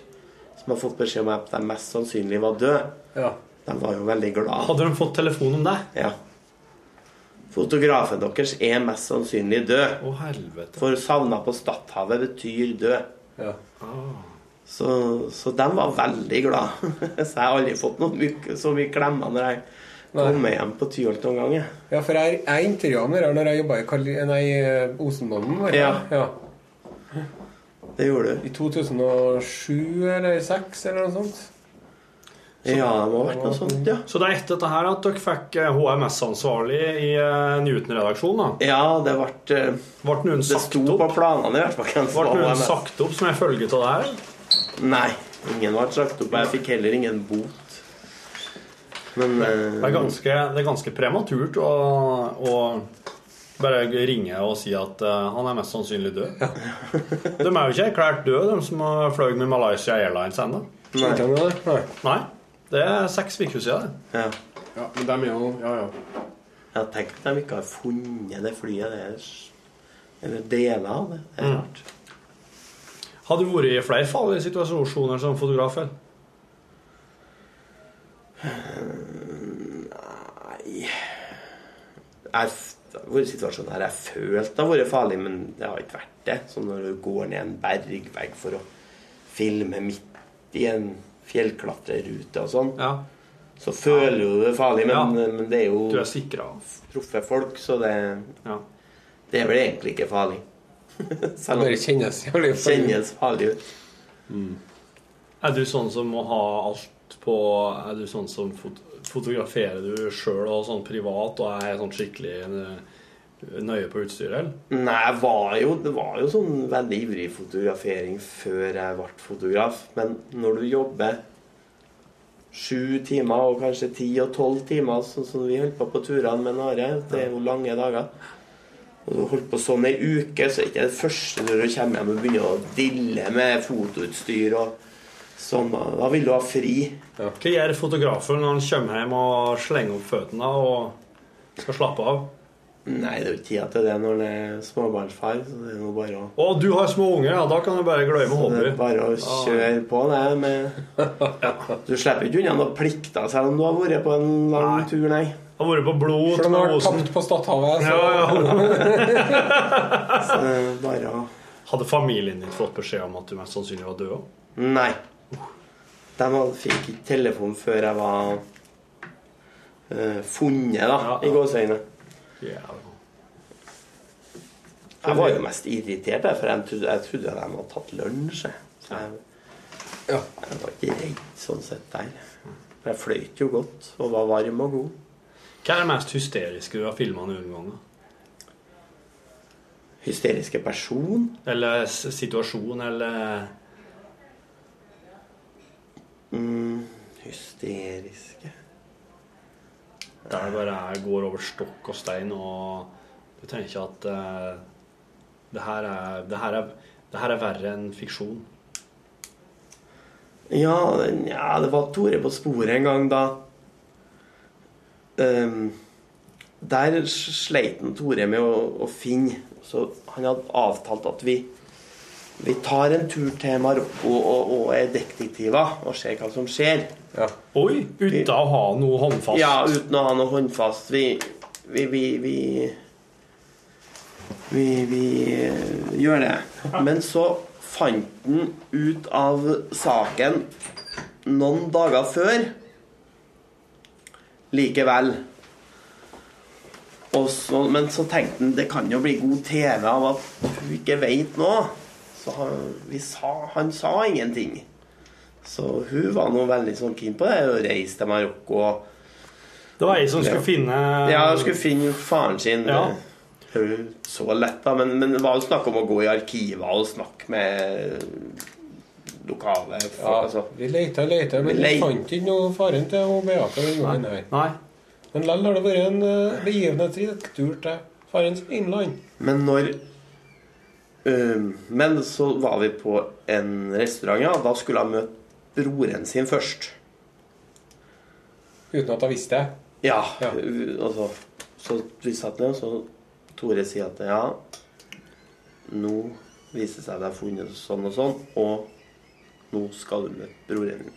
[SPEAKER 6] som har fått beskjed om at de mest sannsynlig var døde.
[SPEAKER 2] ja.
[SPEAKER 6] De var jo veldig glad.
[SPEAKER 3] Hadde de fått telefon om deg?
[SPEAKER 6] Ja. Fotografen deres er mest sannsynlig død.
[SPEAKER 3] Å, helvete.
[SPEAKER 6] For savna på Stadhavet betyr død.
[SPEAKER 2] Ja.
[SPEAKER 6] Så, så de var veldig glad. (laughs) Så jeg har aldri fått noe mye, så mye klemmer når jeg kommer hjem på Tyholt noen gang. jeg.
[SPEAKER 2] ja, for jeg, jeg intervjua med dere når jeg jobba i Kali, nei, eh, Osenbanden. var det?
[SPEAKER 6] Ja.
[SPEAKER 2] ja.
[SPEAKER 6] Det gjorde du.
[SPEAKER 2] I 2007 eller 2006 eller noe sånt.
[SPEAKER 6] Ja, det må ha vært noe sånt, ja.
[SPEAKER 3] Så det er etter dette her at dere fikk eh, HMS-ansvarlig i eh, Newton-redaksjonen.
[SPEAKER 6] Ja, det ble eh,
[SPEAKER 3] da Ble noen
[SPEAKER 6] Det
[SPEAKER 3] sagt
[SPEAKER 6] sto på
[SPEAKER 3] opp?
[SPEAKER 6] planene i hvert fall. hvem som
[SPEAKER 3] Ble
[SPEAKER 6] var
[SPEAKER 3] noen
[SPEAKER 6] HMS.
[SPEAKER 3] sagt opp som en følge av det her?
[SPEAKER 6] Nei, ingen ble sagt opp. og Jeg fikk heller ingen bot. Men
[SPEAKER 3] Det
[SPEAKER 6] eh,
[SPEAKER 3] er ganske, det er ganske prematurt å, å bare ringe og si at eh, han er mest sannsynlig død. (laughs) De er jo ikke erklært døde, de som har fløy med Malaysia Airlines ennå.
[SPEAKER 2] Skjønte
[SPEAKER 6] nei.
[SPEAKER 2] han det? Nei.
[SPEAKER 3] Nei. Det er seks uker siden. det.
[SPEAKER 6] Ja.
[SPEAKER 2] Ja, men dem er jo Ja, ja.
[SPEAKER 6] Jeg tenkte at de ikke har funnet det flyet. Det er, s- eller deler av det. Det
[SPEAKER 2] Mm.
[SPEAKER 6] er rart.
[SPEAKER 3] Har du vært i flere farlige situasjoner som fotograf? eller?
[SPEAKER 6] Jeg f- det har vært situasjoner her jeg følte har vært farlig, men det har ikke vært det. Som når du går ned en bergvegg for å filme midt i en fjellklatrerute og sånn.
[SPEAKER 3] Ja.
[SPEAKER 6] Så føler du det er farlig, men, men det er
[SPEAKER 3] Du
[SPEAKER 6] jo
[SPEAKER 3] er sikra av.
[SPEAKER 6] proffe folk, så det,
[SPEAKER 3] Ja.
[SPEAKER 6] det er vel egentlig ikke farlig. (laughs) Selv om
[SPEAKER 2] Bare kjennes jævlig
[SPEAKER 6] det kjennes farlig ut.
[SPEAKER 3] Er du sånn som må ha alt på Er du sånn som fot fotograferer du sjøl og sånn privat og er sånn skikkelig eh, nøye på utstyret, eller?
[SPEAKER 6] Nei, jeg var jo, det var jo sånn veldig ivrig fotografering før jeg ble fotograf. Men når du jobber sju timer, og kanskje ti og tolv timer, sånn som vi holdt på på turene med Nare, det er jo lange dager Og du holdt på sånn ei uke, så er ikke det første når du kommer hjem og begynner å dille med fotoutstyr og sånn. Da, da vil du ha fri.
[SPEAKER 3] Hva gjør fotografen når han kommer hjem og slenger opp føttene og skal slappe av?
[SPEAKER 6] Nei, det er jo ikke tida til det når en er småbarnsfar, så det er jo bare å
[SPEAKER 3] Å, du har små unger, ja, da kan du bare glemme
[SPEAKER 6] Det er
[SPEAKER 3] hobbyer.
[SPEAKER 6] bare å kjøre på det med
[SPEAKER 3] (laughs)
[SPEAKER 6] Du slipper ikke unna noen plikter selv om du har vært på en lang
[SPEAKER 3] Nei.
[SPEAKER 6] tur, nei.
[SPEAKER 3] Har vært på blod
[SPEAKER 2] Selv om jeg
[SPEAKER 3] med
[SPEAKER 2] har
[SPEAKER 3] Osen.
[SPEAKER 2] tapt på Stadhavet, så
[SPEAKER 3] Ja, ja. (laughs)
[SPEAKER 6] Så det er Eh, bare å
[SPEAKER 3] Hadde familien din fått beskjed om at du mest sannsynlig var død òg?
[SPEAKER 6] Nei. De hadde- fikk ikke telefon før jeg var eh, funnet, da,
[SPEAKER 3] Ja, ja.
[SPEAKER 6] i gåseøynene.
[SPEAKER 3] Jævla.
[SPEAKER 6] Jeg var jo mest irritert, jeg, for jeg trodde, jeg trodde de hadde tatt lunsj. jeg. Så jeg,
[SPEAKER 2] Ja.
[SPEAKER 6] jeg var ikke redd sånn sett der. For jeg fløyt jo godt og var varm og god.
[SPEAKER 3] Hva er det mest hysteriske du har filma noen gang? da?
[SPEAKER 6] Hysteriske person.
[SPEAKER 3] Eller s- situasjon, eller
[SPEAKER 6] Mm, hysteriske
[SPEAKER 3] der det bare er, går over stokk og stein, og du tenker at eh, det, her er, det, her er, det her er verre enn fiksjon.
[SPEAKER 6] Ja, den- ja, det var Tore på sporet en gang da. Ehm, der s- sleit han Tore med å, å finne Så han hadde avtalt at vi Vi tar en tur til Marokko og, og er detektiver og ser hva som skjer.
[SPEAKER 2] ja.
[SPEAKER 3] Oi! Uten å ha noe håndfast.
[SPEAKER 6] Ja, uten å ha noe håndfast. Vi Vi Vi, vi, vi, vi eh, gjør det. Men så fant han ut av saken noen dager før likevel. Og så, men så tenkte han det kan jo bli god TV av at hun ikke veit noe. Så han, vi sa, han sa ingenting. Så hun var nå veldig sånn keen på det, å reise til Marokko og
[SPEAKER 3] Det var ei som skulle
[SPEAKER 6] Ja.
[SPEAKER 3] finne
[SPEAKER 6] ja, jeg skulle finne faren sin.
[SPEAKER 3] Eh, Ja.
[SPEAKER 6] Det er jo Så lett, da. Men, men det var jo snakk om å gå i arkiver og snakke med lokale for,
[SPEAKER 2] Ja,
[SPEAKER 6] altså.
[SPEAKER 2] Vi leita og leita, men
[SPEAKER 6] Vi
[SPEAKER 2] vi
[SPEAKER 6] leit-
[SPEAKER 2] fant ikke noe faren til hun Beate. den gangen her.
[SPEAKER 3] Nei.
[SPEAKER 2] Men likevel har det vært en eh, begivenhetsrik tur til farens innland.
[SPEAKER 6] Men når øhm, Men så var vi på en restaurant, ja. Da skulle jeg møte broren sin først.
[SPEAKER 2] Uten at hun visste det.
[SPEAKER 6] Ja,
[SPEAKER 2] Ja.
[SPEAKER 6] u- altså Så vi satt ned, og så Tore sier at ja, nå viser det seg at jeg har funnet sånn og sånn, og nå skal du møte broren din.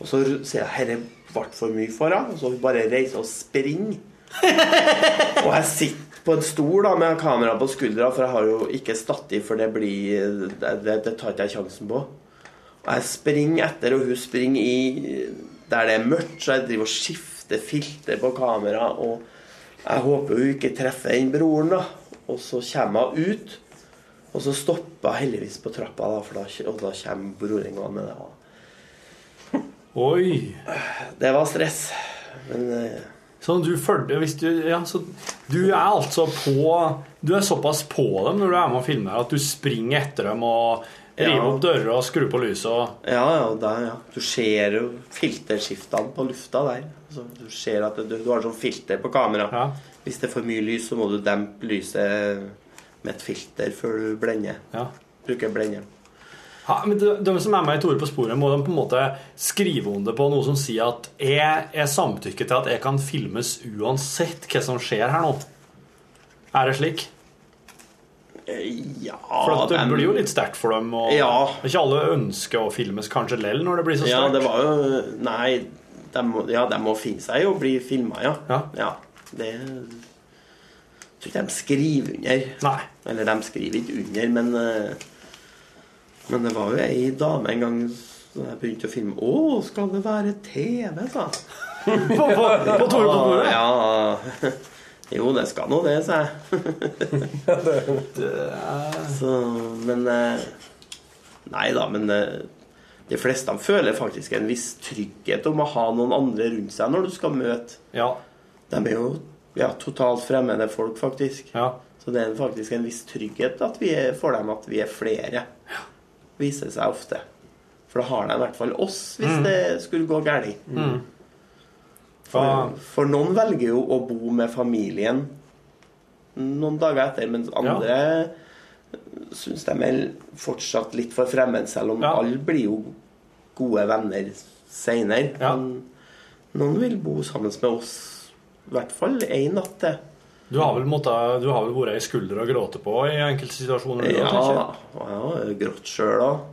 [SPEAKER 6] Og så r- sier jeg herre ble for mye for henne, og så bare reiser og springer. og jeg sitter på en stol da med kamera på skuldra, for jeg har jo ikke statt i, for det blir Det, det, det tar ikke jeg sjansen på. Og jeg springer etter, og hun springer i der det er mørkt, så jeg driver og skifter filter på kamera, og jeg håper hun ikke treffer den broren, da. Og så kommer hun ut, og så stopper hun heldigvis på trappa, da, for da, og da kommer broren gående. Da.
[SPEAKER 3] Oi.
[SPEAKER 6] Det var stress. Men eh,
[SPEAKER 3] Så Sånn, du følger hvis du, ja, så du er altså på Du er såpass på dem når du er med og filmer at du springer etter dem og river
[SPEAKER 6] Ja.
[SPEAKER 3] opp dører og skrur på lyset og
[SPEAKER 6] ja, ja, der, ja. Du ser jo filterskiftene på lufta der. Så du ser at du, du har sånn filter på kamera.
[SPEAKER 3] Ja.
[SPEAKER 6] Hvis det er for mye lys, så må du dempe lyset med et filter før du blender.
[SPEAKER 3] ja.
[SPEAKER 6] Bruker blenderen.
[SPEAKER 3] Ja, men de, de som er med i Tore på sporet, må de på en måte skrive under på noe som sier at jeg, jeg samtykker til at jeg kan filmes uansett hva som skjer her nå. Er det slik?
[SPEAKER 6] Eh, Ja
[SPEAKER 3] For at det
[SPEAKER 6] dem-
[SPEAKER 3] blir jo litt sterkt for dem. Og
[SPEAKER 6] Ja.
[SPEAKER 3] Ikke alle ønsker å filmes kanskje lell når det blir så
[SPEAKER 6] Ja,
[SPEAKER 3] sterkt.
[SPEAKER 6] det var jo Nei, de må, ja, de må finne seg i å bli filma, ja.
[SPEAKER 3] Ja.
[SPEAKER 6] Det Jeg tror ikke de skriver under.
[SPEAKER 3] Nei.
[SPEAKER 6] Eller de skriver ikke under, men eh, Men det var jo ei dame en gang da jeg begynte å filme Å, skal det være TV, sa jeg.
[SPEAKER 3] På, på, på Tore på sporet.
[SPEAKER 6] Ja. (laughs) Jo, det skal nå det, sa jeg.
[SPEAKER 3] (laughs)
[SPEAKER 6] Så, men eh, Nei da, men eh, de fleste føler faktisk en viss trygghet om å ha noen andre rundt seg når du skal møte.
[SPEAKER 3] Ja.
[SPEAKER 6] De er jo ja, totalt fremmede folk, faktisk.
[SPEAKER 3] ja.
[SPEAKER 6] Så det er faktisk en viss trygghet at vi er, for dem at vi er flere. Viser seg ofte. For da har de i hvert fall oss,
[SPEAKER 3] Mm.
[SPEAKER 6] hvis det skulle gå galt.
[SPEAKER 3] Hva-
[SPEAKER 6] For, for noen velger jo å bo med familien noen dager etter, mens andre syns de er fortsatt litt for fremmed, selv om
[SPEAKER 3] Ja.
[SPEAKER 6] alle blir jo gode venner seinere.
[SPEAKER 3] Ja.
[SPEAKER 6] Men noen vil bo sammen med oss i hvert fall én natt til.
[SPEAKER 3] Du har vel måttet, du har vel vært i skulder og gråte på i enkelte situasjoner? du,
[SPEAKER 6] Ja,
[SPEAKER 3] tenker
[SPEAKER 6] da.
[SPEAKER 3] jeg.
[SPEAKER 6] Og jeg har jo grått sjøl òg.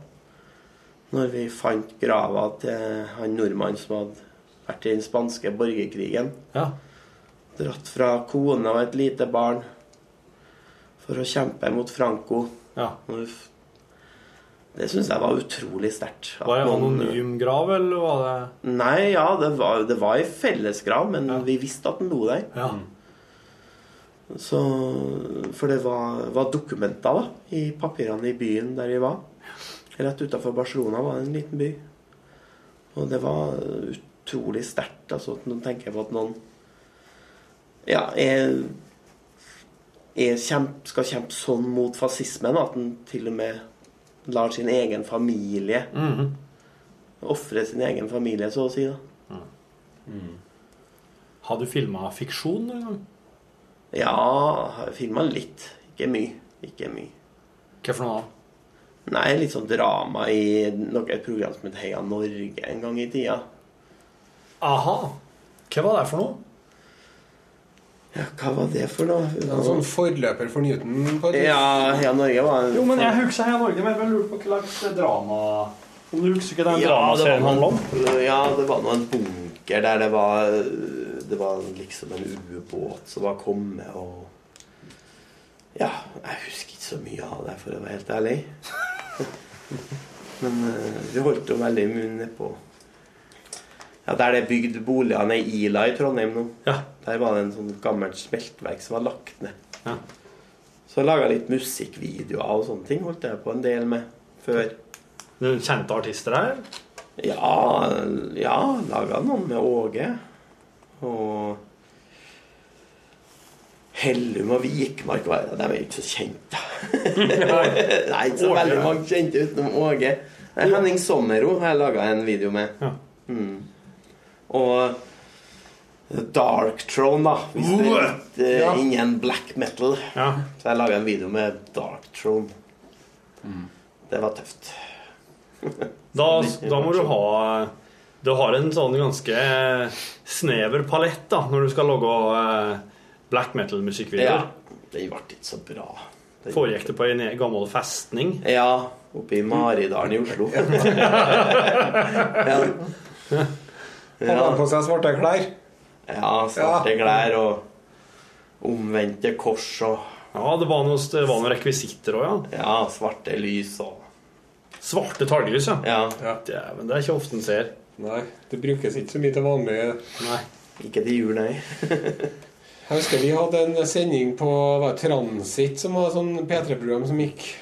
[SPEAKER 6] Når vi fant grava til han nordmannen som hadde vært i den spanske borgerkrigen.
[SPEAKER 3] ja.
[SPEAKER 6] Dratt fra kone og et lite barn for å kjempe mot Franco.
[SPEAKER 3] ja.
[SPEAKER 6] Og f- Det syns jeg var utrolig sterkt. at
[SPEAKER 3] Var det en
[SPEAKER 6] noen-
[SPEAKER 3] anonym grav, eller var det
[SPEAKER 6] Nei, ja, det var, det var i fellesgrav, men vi visste at den lå der.
[SPEAKER 3] Ja.
[SPEAKER 6] Så, for det var, var dokumenter da, i papirene i byen der vi var. Rett utafor Barcelona var det en liten by. Og det var utrolig sterkt. Altså, at noen tenker på at noen ja, er, er kjemp, skal kjempe sånn mot fascismen at en til og med lar sin egen familie
[SPEAKER 3] Mm.
[SPEAKER 6] Ofre sin egen familie, så å si. da.
[SPEAKER 3] Har du filma fiksjon noen gang?
[SPEAKER 6] Ja, jeg har filma litt. Ikke mye. Ikke mye.
[SPEAKER 3] Hva for noe da?
[SPEAKER 6] Nei, litt sånn drama i nok et program som het Heia Norge en gang i tida.
[SPEAKER 3] Aha! Hva var det for noe?
[SPEAKER 6] Ja, hva var det for noe?
[SPEAKER 2] Det er En sånn forløper for Newton. På et vis.
[SPEAKER 6] Ja, Heia Norge var
[SPEAKER 3] Jo, men jeg husker Heia Norge, men jeg bare lurer på hva slags drama Om du husker hva den
[SPEAKER 6] Ja, det var
[SPEAKER 3] dramaserien handla om?
[SPEAKER 6] noe- Ja, det var nå en bunker der det var Det var liksom en ubåt som var kommet og Ja, jeg husker ikke så mye av det, for å være helt ærlig. Men eh, vi holdt jo veldig mye nedpå. Ja, der det er bygd boliger nede i Ila i Trondheim nå.
[SPEAKER 3] Ja.
[SPEAKER 6] Der var det en sånn gammelt smeltverk som var lagt ned.
[SPEAKER 3] Ja.
[SPEAKER 6] Så jeg laga litt musikkvideoer og sånne ting holdt jeg på en del med før.
[SPEAKER 3] Noen Kjente artister her?
[SPEAKER 6] Ja, ja laga noen med Åge. Og Hellum og Vikmark var, De er jo ikke så kjente. Nei, ikke så veldig mange kjente utenom Åge. Eh, Henning Sommero har jeg laga en video med.
[SPEAKER 3] Ja.
[SPEAKER 6] Mm. Og Dark Throne, da. Hvis det er litt eh,
[SPEAKER 2] Ja.
[SPEAKER 6] innen black metal.
[SPEAKER 3] Ja.
[SPEAKER 6] Så jeg laga en video med Dark Throne. Det var tøft.
[SPEAKER 3] Da,
[SPEAKER 6] Sånn
[SPEAKER 3] da må du ha Du har en sånn ganske snever palett da når du skal lage eh, black
[SPEAKER 6] Ja.
[SPEAKER 3] metal-musikkvideoer.
[SPEAKER 6] Det ble ikke så bra. Det-
[SPEAKER 3] Foregikk det på en e- gammel festning?
[SPEAKER 6] Ja, oppe i Maridalen i Oslo. ja.
[SPEAKER 2] Han har
[SPEAKER 6] Ja,
[SPEAKER 2] på seg svarte klær.
[SPEAKER 6] ja, svarte klær og omvendte kors og
[SPEAKER 3] Ja, det var noe- det var noen rekvisitter òg, ja.
[SPEAKER 6] ja, svarte lys og
[SPEAKER 3] Svarte talglys, ja.
[SPEAKER 6] Ja,
[SPEAKER 3] Dæven, det er ikke ofte en ser.
[SPEAKER 2] Nei, det brukes ikke så mye til vanlig.
[SPEAKER 3] Nei.
[SPEAKER 6] ikke til jul, nei.
[SPEAKER 2] Jeg husker vi hadde en sending på var det Transit, som var et sånn P3-program som gikk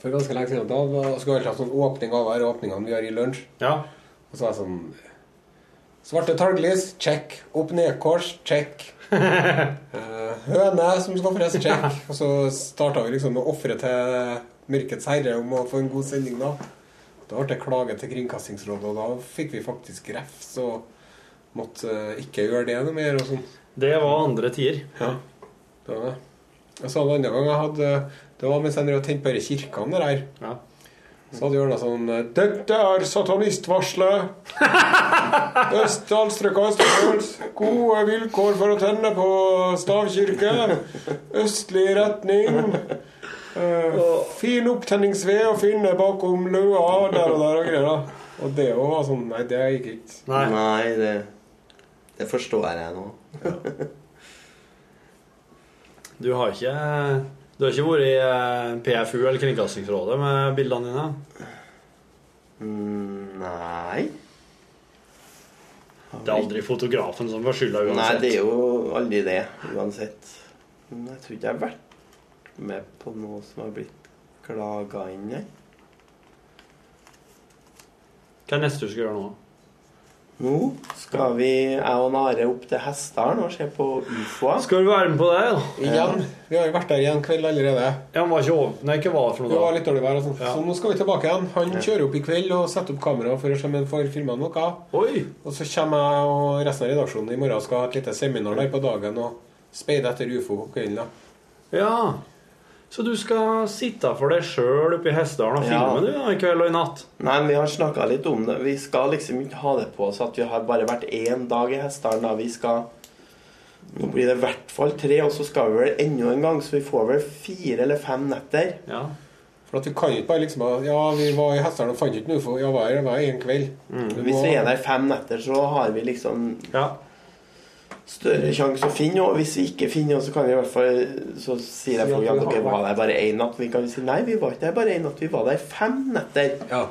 [SPEAKER 2] for ganske lenge siden. Da var- skulle vi alltid ha sånn åpning av hver åpningene vi har i lunsj.
[SPEAKER 3] Ja.
[SPEAKER 2] Og så var jeg sånn Svarte talglys, check. Opp-ned-kors, check. Eh, høne som skal ofres, check. Og så starta vi liksom med å ofre til Mørkets herre om å få en god sending, da. Da ble det klage til Kringkastingsrådet, og da fikk vi faktisk refs og måtte eh, ikke gjøre det noe mer. og sånn.
[SPEAKER 3] Det var andre tider.
[SPEAKER 2] Det var det. Jeg sa en annen gang jeg hadde Det var mens jeg drev og tente på disse kirkene der. her.
[SPEAKER 3] Ja.
[SPEAKER 2] Så hadde Jørna sånn Dette er satanistvarselet! Østdalstrykka Østfold. Gode vilkår for å tenne på stavkirke. Østlig retning. Eh, fin opptenningsved å finne bakom løa der og der og greier. da. Og det òg var sånn Nei, det gikk ikke.
[SPEAKER 3] Nei.
[SPEAKER 6] Nei, det, det forstår jeg nå.
[SPEAKER 3] Du har ikke Du har ikke vært i eh, PFU eller Kringkastingsrådet med bildene dine?
[SPEAKER 6] Mm, Nei.
[SPEAKER 3] Det er aldri fotografen som får skylda
[SPEAKER 6] Nei,
[SPEAKER 3] uansett.
[SPEAKER 6] det er jo aldri det, uansett. Men jeg tror ikke jeg har vært med på noe som har blitt klaga inn her.
[SPEAKER 3] Hva er det neste du skal gjøre nå?
[SPEAKER 6] Nå skal vi, jeg og Nare, opp til Hessdalen og se på ufoer.
[SPEAKER 3] Skal du være med på det? da?
[SPEAKER 2] Igjen. Vi har jo vært der igjen kveld allerede.
[SPEAKER 3] Ja, han var ikke over... Nei, hva var det for
[SPEAKER 2] Det var
[SPEAKER 3] noe? da?
[SPEAKER 2] litt dårlig vær og sånt.
[SPEAKER 3] Ja.
[SPEAKER 2] Så nå skal vi tilbake igjen. Han kjører opp i kveld og setter opp kamera for å se om han får filma noe.
[SPEAKER 3] Oi!
[SPEAKER 2] Og så kommer jeg og resten av redaksjonen i morgen og skal ha et lite seminar der på dagen og speide etter ufo på kvelden. da.
[SPEAKER 3] Ja. Så du skal sitte for deg sjøl oppe i Hessdalen og
[SPEAKER 6] Ja.
[SPEAKER 3] filme du da, i kveld og i natt?
[SPEAKER 6] Nei, men vi har snakka litt om det. Vi skal liksom ikke ha det på oss at vi har bare vært én dag i Hessdalen. da. Vi skal Nå blir det i hvert fall tre, og så skal vi vel enda en gang, så vi får vel fire eller fem netter.
[SPEAKER 3] Ja.
[SPEAKER 2] For at vi kan jo ikke bare liksom ha, Ja, vi var i Hessdalen og fant ikke noe ufo. Ja, hva er det? Hva er det en kveld? Du
[SPEAKER 6] Hvis
[SPEAKER 2] må-
[SPEAKER 6] Mm, vi er der fem netter, så har vi liksom
[SPEAKER 3] ja.
[SPEAKER 6] større sjanse å finne noe. Hvis vi ikke finner noe, så kan vi i hvert fall Så sier jeg folk at dere var der bare én natt. Vi kan jo si nei, vi var ikke der bare én natt, vi var der fem netter.
[SPEAKER 2] Ja.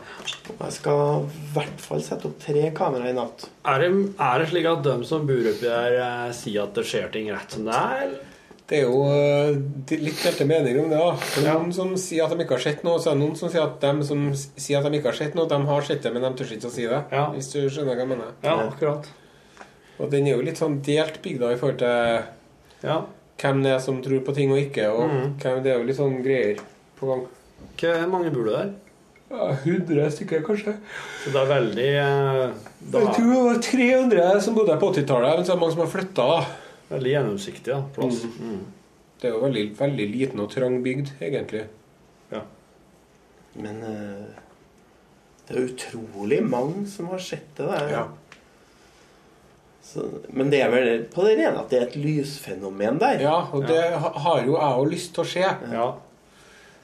[SPEAKER 6] Jeg skal i hvert fall sette opp tre kameraer i natt.
[SPEAKER 3] Er, det, er det slik at de som bor oppi der, eh, sier at det skjer ting rett som det er? eller?
[SPEAKER 2] Det er jo eh, de- litt delte meninger om det. da. Det er noen som sier at de ikke har sett noe, og så er det noen som sier at de som s- sier at de ikke har sett noe, de har sett det, men de tør ikke å si det.
[SPEAKER 3] Ja.
[SPEAKER 2] Hvis du skjønner hva jeg mener.
[SPEAKER 3] Ja, akkurat.
[SPEAKER 2] Og den er jo litt sånn delt bygda i forhold til
[SPEAKER 3] Ja.
[SPEAKER 2] hvem det er som tror på ting og ikke, og hvem det er jo litt sånn greier på gang.
[SPEAKER 3] Hvor mange bor det der?
[SPEAKER 2] Ja, 100 stykker, kanskje.
[SPEAKER 3] Så det er veldig eh, da,
[SPEAKER 2] Jeg tror det var 300 som bodde her på 80-tallet, men så er det mange som har flytta.
[SPEAKER 3] Veldig gjennomsiktig da, plass. Mm.
[SPEAKER 2] Det er jo veldig, veldig liten og trang bygd, egentlig.
[SPEAKER 6] Men eh, det er utrolig mange som har sett det der.
[SPEAKER 2] Ja.
[SPEAKER 6] Så, men det er vel på det rene at det er et lysfenomen der.
[SPEAKER 2] Ja, og det ha- har jo jeg òg lyst til å se.
[SPEAKER 3] Ja.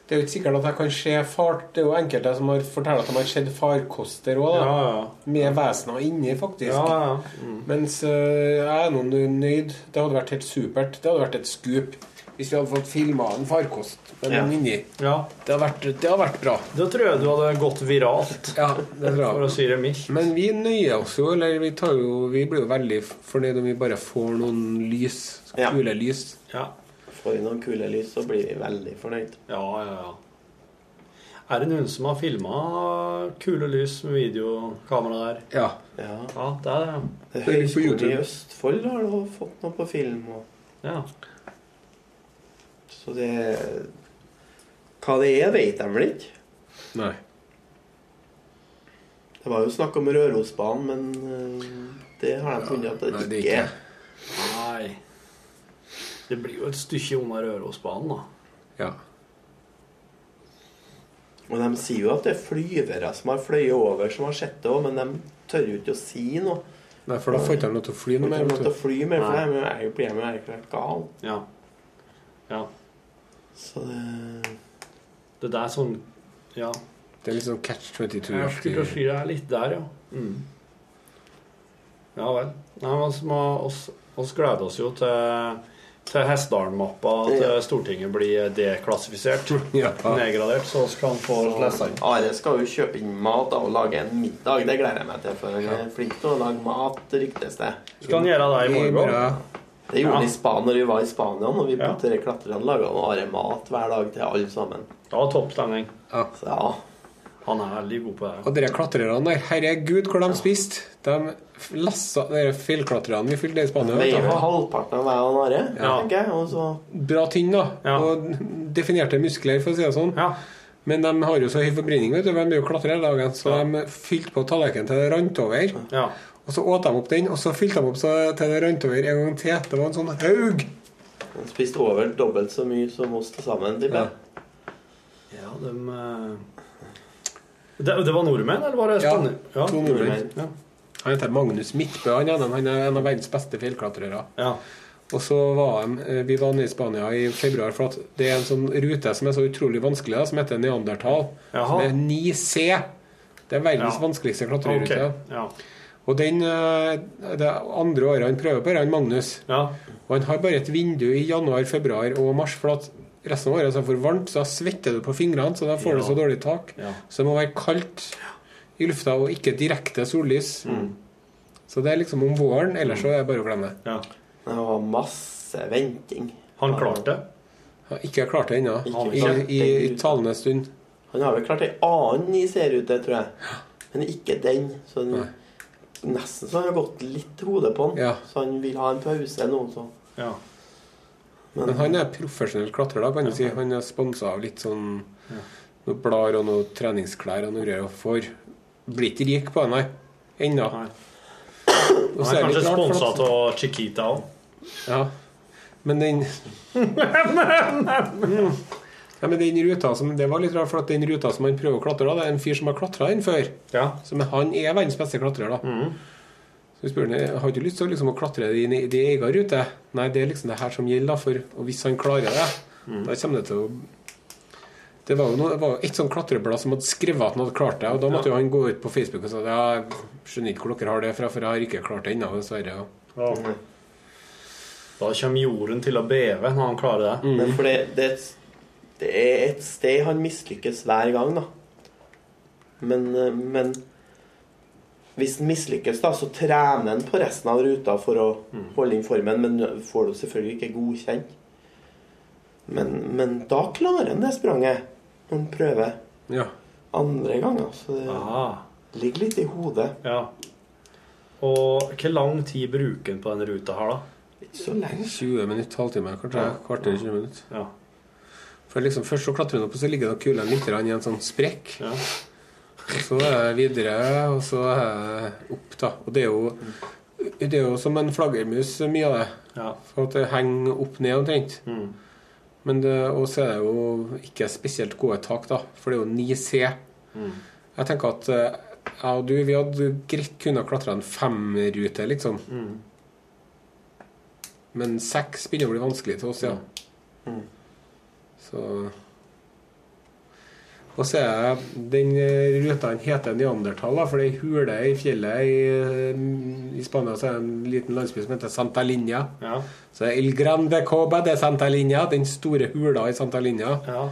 [SPEAKER 2] Det er jo ikke sikkert at jeg kan se fart. Det er jo enkelte som har fortalt at de har sett farkoster òg,
[SPEAKER 3] Ja,
[SPEAKER 2] da.
[SPEAKER 3] ja.
[SPEAKER 2] Med vesener inni, faktisk.
[SPEAKER 3] ja, ja. Mm.
[SPEAKER 2] Mens øh, jeg er nå nøyd. Det hadde vært helt supert. Det hadde vært et skup hvis vi hadde fått filma en farkost med
[SPEAKER 6] Ja.
[SPEAKER 2] noen inni.
[SPEAKER 3] ja.
[SPEAKER 2] Det hadde vært, det hadde vært bra.
[SPEAKER 3] Da tror jeg du hadde gått viralt,
[SPEAKER 2] Ja, det
[SPEAKER 3] for å si det mildt.
[SPEAKER 2] Men vi nøyer oss jo, eller vi, tar jo, vi blir jo veldig fornøyd om vi bare får noen lys.
[SPEAKER 6] Ja.
[SPEAKER 2] Kule lys.
[SPEAKER 3] Ja.
[SPEAKER 6] Får vi noen kule lys, så blir vi veldig fornøyd.
[SPEAKER 3] ja, ja, ja. Er det noen som har filma kule lys med videokamera der?
[SPEAKER 2] Ja.
[SPEAKER 6] Ja.
[SPEAKER 3] Ja, det er det.
[SPEAKER 6] Det er
[SPEAKER 2] Det ligger på
[SPEAKER 6] Høgskolen i
[SPEAKER 2] YouTube.
[SPEAKER 6] Østfold har da fått noe på film. Og,
[SPEAKER 3] Ja.
[SPEAKER 6] så det Hva det er, vet de vel ikke.
[SPEAKER 2] Nei.
[SPEAKER 6] Det var jo snakk om Rørosbanen, men eh, det har de funnet at det,
[SPEAKER 2] nei, det er ikke.
[SPEAKER 6] ikke er.
[SPEAKER 3] Nei. Det blir jo et stykke unna Rørosbanen, da.
[SPEAKER 2] Ja.
[SPEAKER 6] Og de sier jo at det er flyvere som har fløyet over, som har sett det òg, men de tør jo ikke å si noe.
[SPEAKER 2] Nei, for da får ikke han lov til å fly
[SPEAKER 6] De
[SPEAKER 2] noe
[SPEAKER 6] er
[SPEAKER 2] mer.
[SPEAKER 6] nødt til
[SPEAKER 2] vet
[SPEAKER 6] å fly mer, for de er jo blir med helt gal.
[SPEAKER 3] Ja. ja.
[SPEAKER 6] Så det
[SPEAKER 3] Det der er sånn Ja.
[SPEAKER 2] du. Det er litt sånn catch
[SPEAKER 3] Jeg skulle til å
[SPEAKER 2] 22-aktig.
[SPEAKER 3] si det er litt der, ja. Mm. Ja vel. Nei, men altså, må- oss, oss gleder oss jo til, til Hessdalen-mappa, at eh, Stortinget blir deklassifisert.
[SPEAKER 2] Ja.
[SPEAKER 3] Nedgradert, så vi kan få lese den.
[SPEAKER 6] Are skal jo kjøpe inn mat da, og lage en middag. Det gleder jeg meg til, for han er flink til å lage mat, ryktes det.
[SPEAKER 3] Skal han gjøre det i morgen?
[SPEAKER 2] Ja.
[SPEAKER 6] Det gjorde
[SPEAKER 3] Ja.
[SPEAKER 6] vi i Spania når vi var i Spania, når vi
[SPEAKER 3] Ja.
[SPEAKER 6] på tre klatrerne laga Are mat hver dag til alle sammen.
[SPEAKER 3] Ja, topp stemning.
[SPEAKER 6] Så ja,
[SPEAKER 3] Han er veldig god på det.
[SPEAKER 2] Og dere klatrerne der, herregud, hvor de spiste! De f- lassa Dere fjellklatrerne vi fulgte i Spania.
[SPEAKER 6] veier
[SPEAKER 2] vet
[SPEAKER 6] for
[SPEAKER 2] du.
[SPEAKER 6] halvparten av meg og Are,
[SPEAKER 3] Ja.
[SPEAKER 6] tenker jeg. Og så
[SPEAKER 2] Bra tynn, da.
[SPEAKER 3] Ja.
[SPEAKER 2] Og definerte muskler, for å si det sånn.
[SPEAKER 3] Ja.
[SPEAKER 2] Men de har jo så høy forbrenning, vet du. De er jo klatrere hele dagen, så de fylte på tallerkenen til det rant over.
[SPEAKER 3] ja.
[SPEAKER 2] Og så åt de opp den, og så fylte de opp så til det rant over en gang til. Det var en sånn haug!
[SPEAKER 6] han spiste over dobbelt så mye som oss til sammen, tipper jeg.
[SPEAKER 3] Ja, dem eh, det, det var nordmenn, eller var det
[SPEAKER 2] Ja,
[SPEAKER 3] spanjoler?
[SPEAKER 2] to nordmenn.
[SPEAKER 3] Ja.
[SPEAKER 2] Han heter Magnus Midtbø. Han er en- han er en av verdens beste fjellklatrere.
[SPEAKER 3] Ja.
[SPEAKER 2] Og så var de, eh, vi var nede i Spania i februar, for at det er en sånn rute som er så utrolig vanskelig, da, som heter Neandertal.
[SPEAKER 3] Jaha.
[SPEAKER 2] Som er 9C. Det er verdens
[SPEAKER 3] Ja.
[SPEAKER 2] vanskeligste klatrerute.
[SPEAKER 3] Ok. Ja.
[SPEAKER 2] Og den, eh, det andre året han prøver på, er han Magnus.
[SPEAKER 3] ja.
[SPEAKER 2] Og han har bare et vindu i januar, februar og mars, for at resten av året så er det for varmt, så da svetter du på fingrene, så da får du
[SPEAKER 3] Ja.
[SPEAKER 2] så dårlig tak.
[SPEAKER 3] Ja.
[SPEAKER 2] Så det må være kaldt i lufta og ikke direkte sollys.
[SPEAKER 3] Mm.
[SPEAKER 2] Så det er liksom om våren, ellers så er det bare å glemme.
[SPEAKER 3] ja.
[SPEAKER 6] Det var masse venting.
[SPEAKER 3] Han klarte det.
[SPEAKER 2] Jeg har ikke klart det ennå.
[SPEAKER 6] Ikke
[SPEAKER 2] I,
[SPEAKER 6] klart
[SPEAKER 2] i,
[SPEAKER 6] den
[SPEAKER 2] I talende stund.
[SPEAKER 6] Han har vel klart ei annen i serierute, tror jeg. Men ikke den. Så den, nesten så har det gått litt hodet på han.
[SPEAKER 2] Ja.
[SPEAKER 6] Så han vil ha en pause nå. Så.
[SPEAKER 3] Ja.
[SPEAKER 6] Men,
[SPEAKER 2] Men han er profesjonell klatrer, da, kan du si. Han er sponsa av litt sånn noe blader og noe treningsklær og noe greier. og Får blir ikke rik på det, nei. Ennå.
[SPEAKER 3] Nei.
[SPEAKER 2] Og så
[SPEAKER 3] Han
[SPEAKER 2] det
[SPEAKER 3] er kanskje
[SPEAKER 2] litt rart, for
[SPEAKER 3] sponsa
[SPEAKER 2] at-
[SPEAKER 3] av Chiquita òg.
[SPEAKER 2] Ja. Men den
[SPEAKER 3] (laughs)
[SPEAKER 2] ja, men den ruta som Det var litt rart, for at den ruta som han prøver å klatre, da, det er en fyr som har klatra den før.
[SPEAKER 3] Ja.
[SPEAKER 2] Som er, han er verdens beste klatrer, da. Så vi spør han har du lyst til å liksom, å klatre din i din egen rute. Nei, det er liksom det her som gjelder, da. For, og hvis han klarer det, da kommer det til å det var jo noe, det var jo et sånt klatreblad som hadde skrevet at han hadde klart det. Og da måtte jo han gå ut på Facebook og si ja, jeg skjønner ikke hvor dere har det fra, for jeg har ikke klart det ennå, dessverre. Og- Mm.
[SPEAKER 3] Da kommer jorden til å beve når han
[SPEAKER 2] Mm.
[SPEAKER 3] klarer det.
[SPEAKER 6] men for det, det, er et, det er et sted han mislykkes hver gang, da. Men, eh, men hvis han mislykkes, da, så trener han på resten av ruta for å holde inn formen, men får du selvfølgelig ikke godkjent. Men, men da klarer han det spranget. Når han prøver
[SPEAKER 2] Ja.
[SPEAKER 6] andre ganger. Så det
[SPEAKER 3] Ah,
[SPEAKER 6] ligger litt i hodet.
[SPEAKER 3] ja. Og hvor lang tid bruker han på den ruta her, da?
[SPEAKER 6] Ikke så lenge.
[SPEAKER 2] 20 minutter, halvtime, kanskje. Kvarter, 20 minutter.
[SPEAKER 3] Ja.
[SPEAKER 2] For liksom Først så klatrer hun opp, og så ligger det kulene litt grann i en sånn sprekk.
[SPEAKER 3] Ja.
[SPEAKER 2] Så er det videre, og så er det opp, da. Og det er jo, det er jo som en flaggermus, mye av det.
[SPEAKER 3] ja.
[SPEAKER 2] For at det henger opp ned omtrent. Men det, og så er det jo ikke spesielt gode tak, da. For det er jo 9C. Jeg tenker at eh, jeg og du, vi hadde greit kunnet klatre en femrute, liksom. Men seks begynner å bli vanskelig til oss, ja. Så Og så er den eh, ruta den heter Neandertal, da, for det er ei hule i fjellet i, eh, i Spania. Så er det en liten landsby som heter Santa Linja.
[SPEAKER 3] Ja.
[SPEAKER 2] Så det er Il Grande Coba de Santa Linja, den store hula i Santa Linja.
[SPEAKER 3] ja.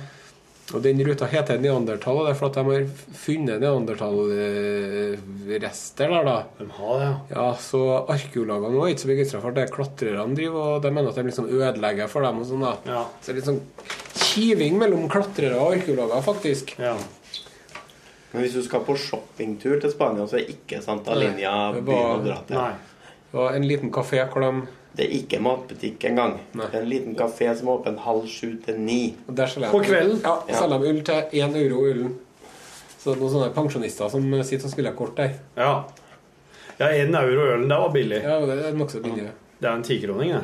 [SPEAKER 2] Og den ruta heter Neandertal, og det er for at de har funnet neandertalrester der, da.
[SPEAKER 3] De har det, ja.
[SPEAKER 2] Ja, så arkeologene var ikke så begeistra for at det klatrerne driver, og de mener at de liksom ødelegger for dem og sånn, da.
[SPEAKER 3] Ja.
[SPEAKER 2] Så det er litt sånn kiving mellom klatrere og arkeologer, faktisk.
[SPEAKER 3] ja.
[SPEAKER 6] Men hvis du skal på shoppingtur til Spania, så er ikke Santa
[SPEAKER 2] Nei,
[SPEAKER 6] Linja
[SPEAKER 2] det
[SPEAKER 6] byen
[SPEAKER 2] var-
[SPEAKER 6] å dra til.
[SPEAKER 3] Nei.
[SPEAKER 2] Og en liten kafé hvor de
[SPEAKER 6] Det er ikke matbutikk engang.
[SPEAKER 2] Nei.
[SPEAKER 6] Det er en liten kafé som er åpen halv sju til ni.
[SPEAKER 2] og der selger de-
[SPEAKER 3] På kvelden?
[SPEAKER 2] Ja, selger de ull til én euro ullen. Så det er noen sånne pensjonister som sitter og spiller kort der.
[SPEAKER 3] Ja. Ja, én euro ølen, det var billig.
[SPEAKER 2] Ja, det er nokså billigere.
[SPEAKER 3] Det er en tikroning, det.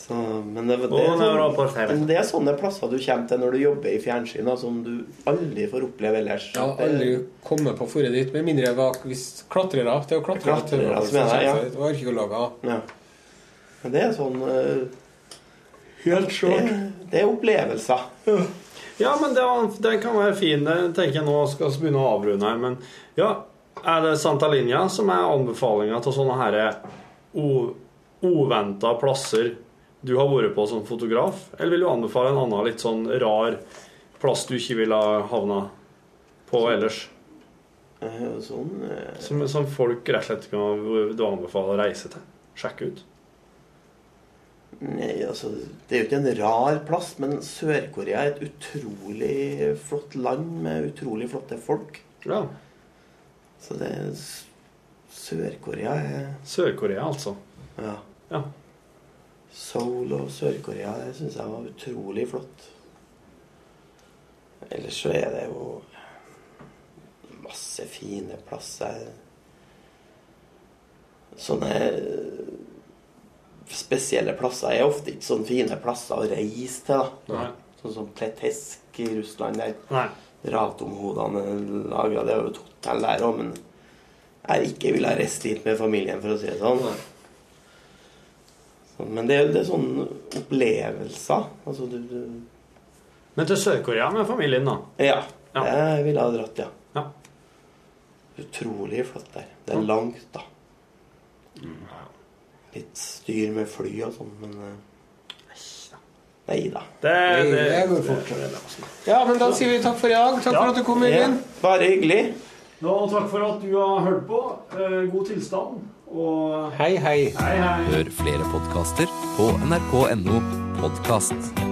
[SPEAKER 6] Så, men det, det,
[SPEAKER 3] Å,
[SPEAKER 6] er
[SPEAKER 3] det er bra
[SPEAKER 6] sånn,
[SPEAKER 3] på TV.
[SPEAKER 6] men det er sånne plasser du kommer til når du jobber i fjernsyn, da, som du aldri får oppleve ellers.
[SPEAKER 2] Jeg har aldri kommet på å dra dit, med mindre jeg var hvis klatrere. Det er jo klatrere.
[SPEAKER 6] Klatrere,
[SPEAKER 2] til-
[SPEAKER 6] altså, mener jeg, ja.
[SPEAKER 2] Og arkeologer.
[SPEAKER 6] Ja. Men det er sånn Helt sjokk. Det, det er opplevelser.
[SPEAKER 3] Ja, men det, var, den kan være fin. Det tenker jeg nå skal vi begynne å avrunde her. Men ja, er det Santa Linja som er anbefalinga til sånne herre uventa plasser du har vært på som fotograf? Eller vil du anbefale en annen litt sånn rar plass du ikke ville ha havna på ellers?
[SPEAKER 6] Eh, Sånn eh,
[SPEAKER 3] Som, som folk rett og slett kan du anbefale å reise til? Sjekke ut?
[SPEAKER 6] Nei, altså, det er jo ikke en rar plass, men Sør-Korea er et utrolig flott land med utrolig flotte folk.
[SPEAKER 3] Ja.
[SPEAKER 6] Så det er s- Sør-Korea er
[SPEAKER 3] Sør-Korea, altså.
[SPEAKER 6] Ja.
[SPEAKER 3] Ja.
[SPEAKER 6] Seoul og Sør-Korea, det syns jeg var utrolig flott. Ellers så er det jo masse fine plasser. Sånne eh, spesielle plasser er ofte ikke sånne fine plasser å reise til, da.
[SPEAKER 3] Nei.
[SPEAKER 6] Sånn som Pletesk i Russland, der
[SPEAKER 3] Nei.
[SPEAKER 6] Ratomhodene laga Det er jo et hotell der òg, men jeg ikke ville ha reist dit med familien, for å si det sånn. Så, men det, er- det er sånne opplevelser. Altså du, du
[SPEAKER 3] Men til Sør-Korea med familien, da.
[SPEAKER 6] Ja.
[SPEAKER 3] Ja.
[SPEAKER 6] Jeg ville ha dratt, ja.
[SPEAKER 3] Ja.
[SPEAKER 6] Utrolig flott der. Det er langt, da. Litt styr med fly og sånn, men eh, Nei da.
[SPEAKER 3] Det, det,
[SPEAKER 2] Det går fort. Ja, men da sier vi takk for i dag. Takk
[SPEAKER 3] Ja.
[SPEAKER 2] for at du kom,
[SPEAKER 6] Ja,
[SPEAKER 2] Øyvind.
[SPEAKER 6] bare hyggelig.
[SPEAKER 3] Da, takk for at du har hørt på. Eh, God tilstand. Og
[SPEAKER 2] Hei, hei.
[SPEAKER 3] hei, hei.
[SPEAKER 7] Hør flere podkaster på nrk.no podkast.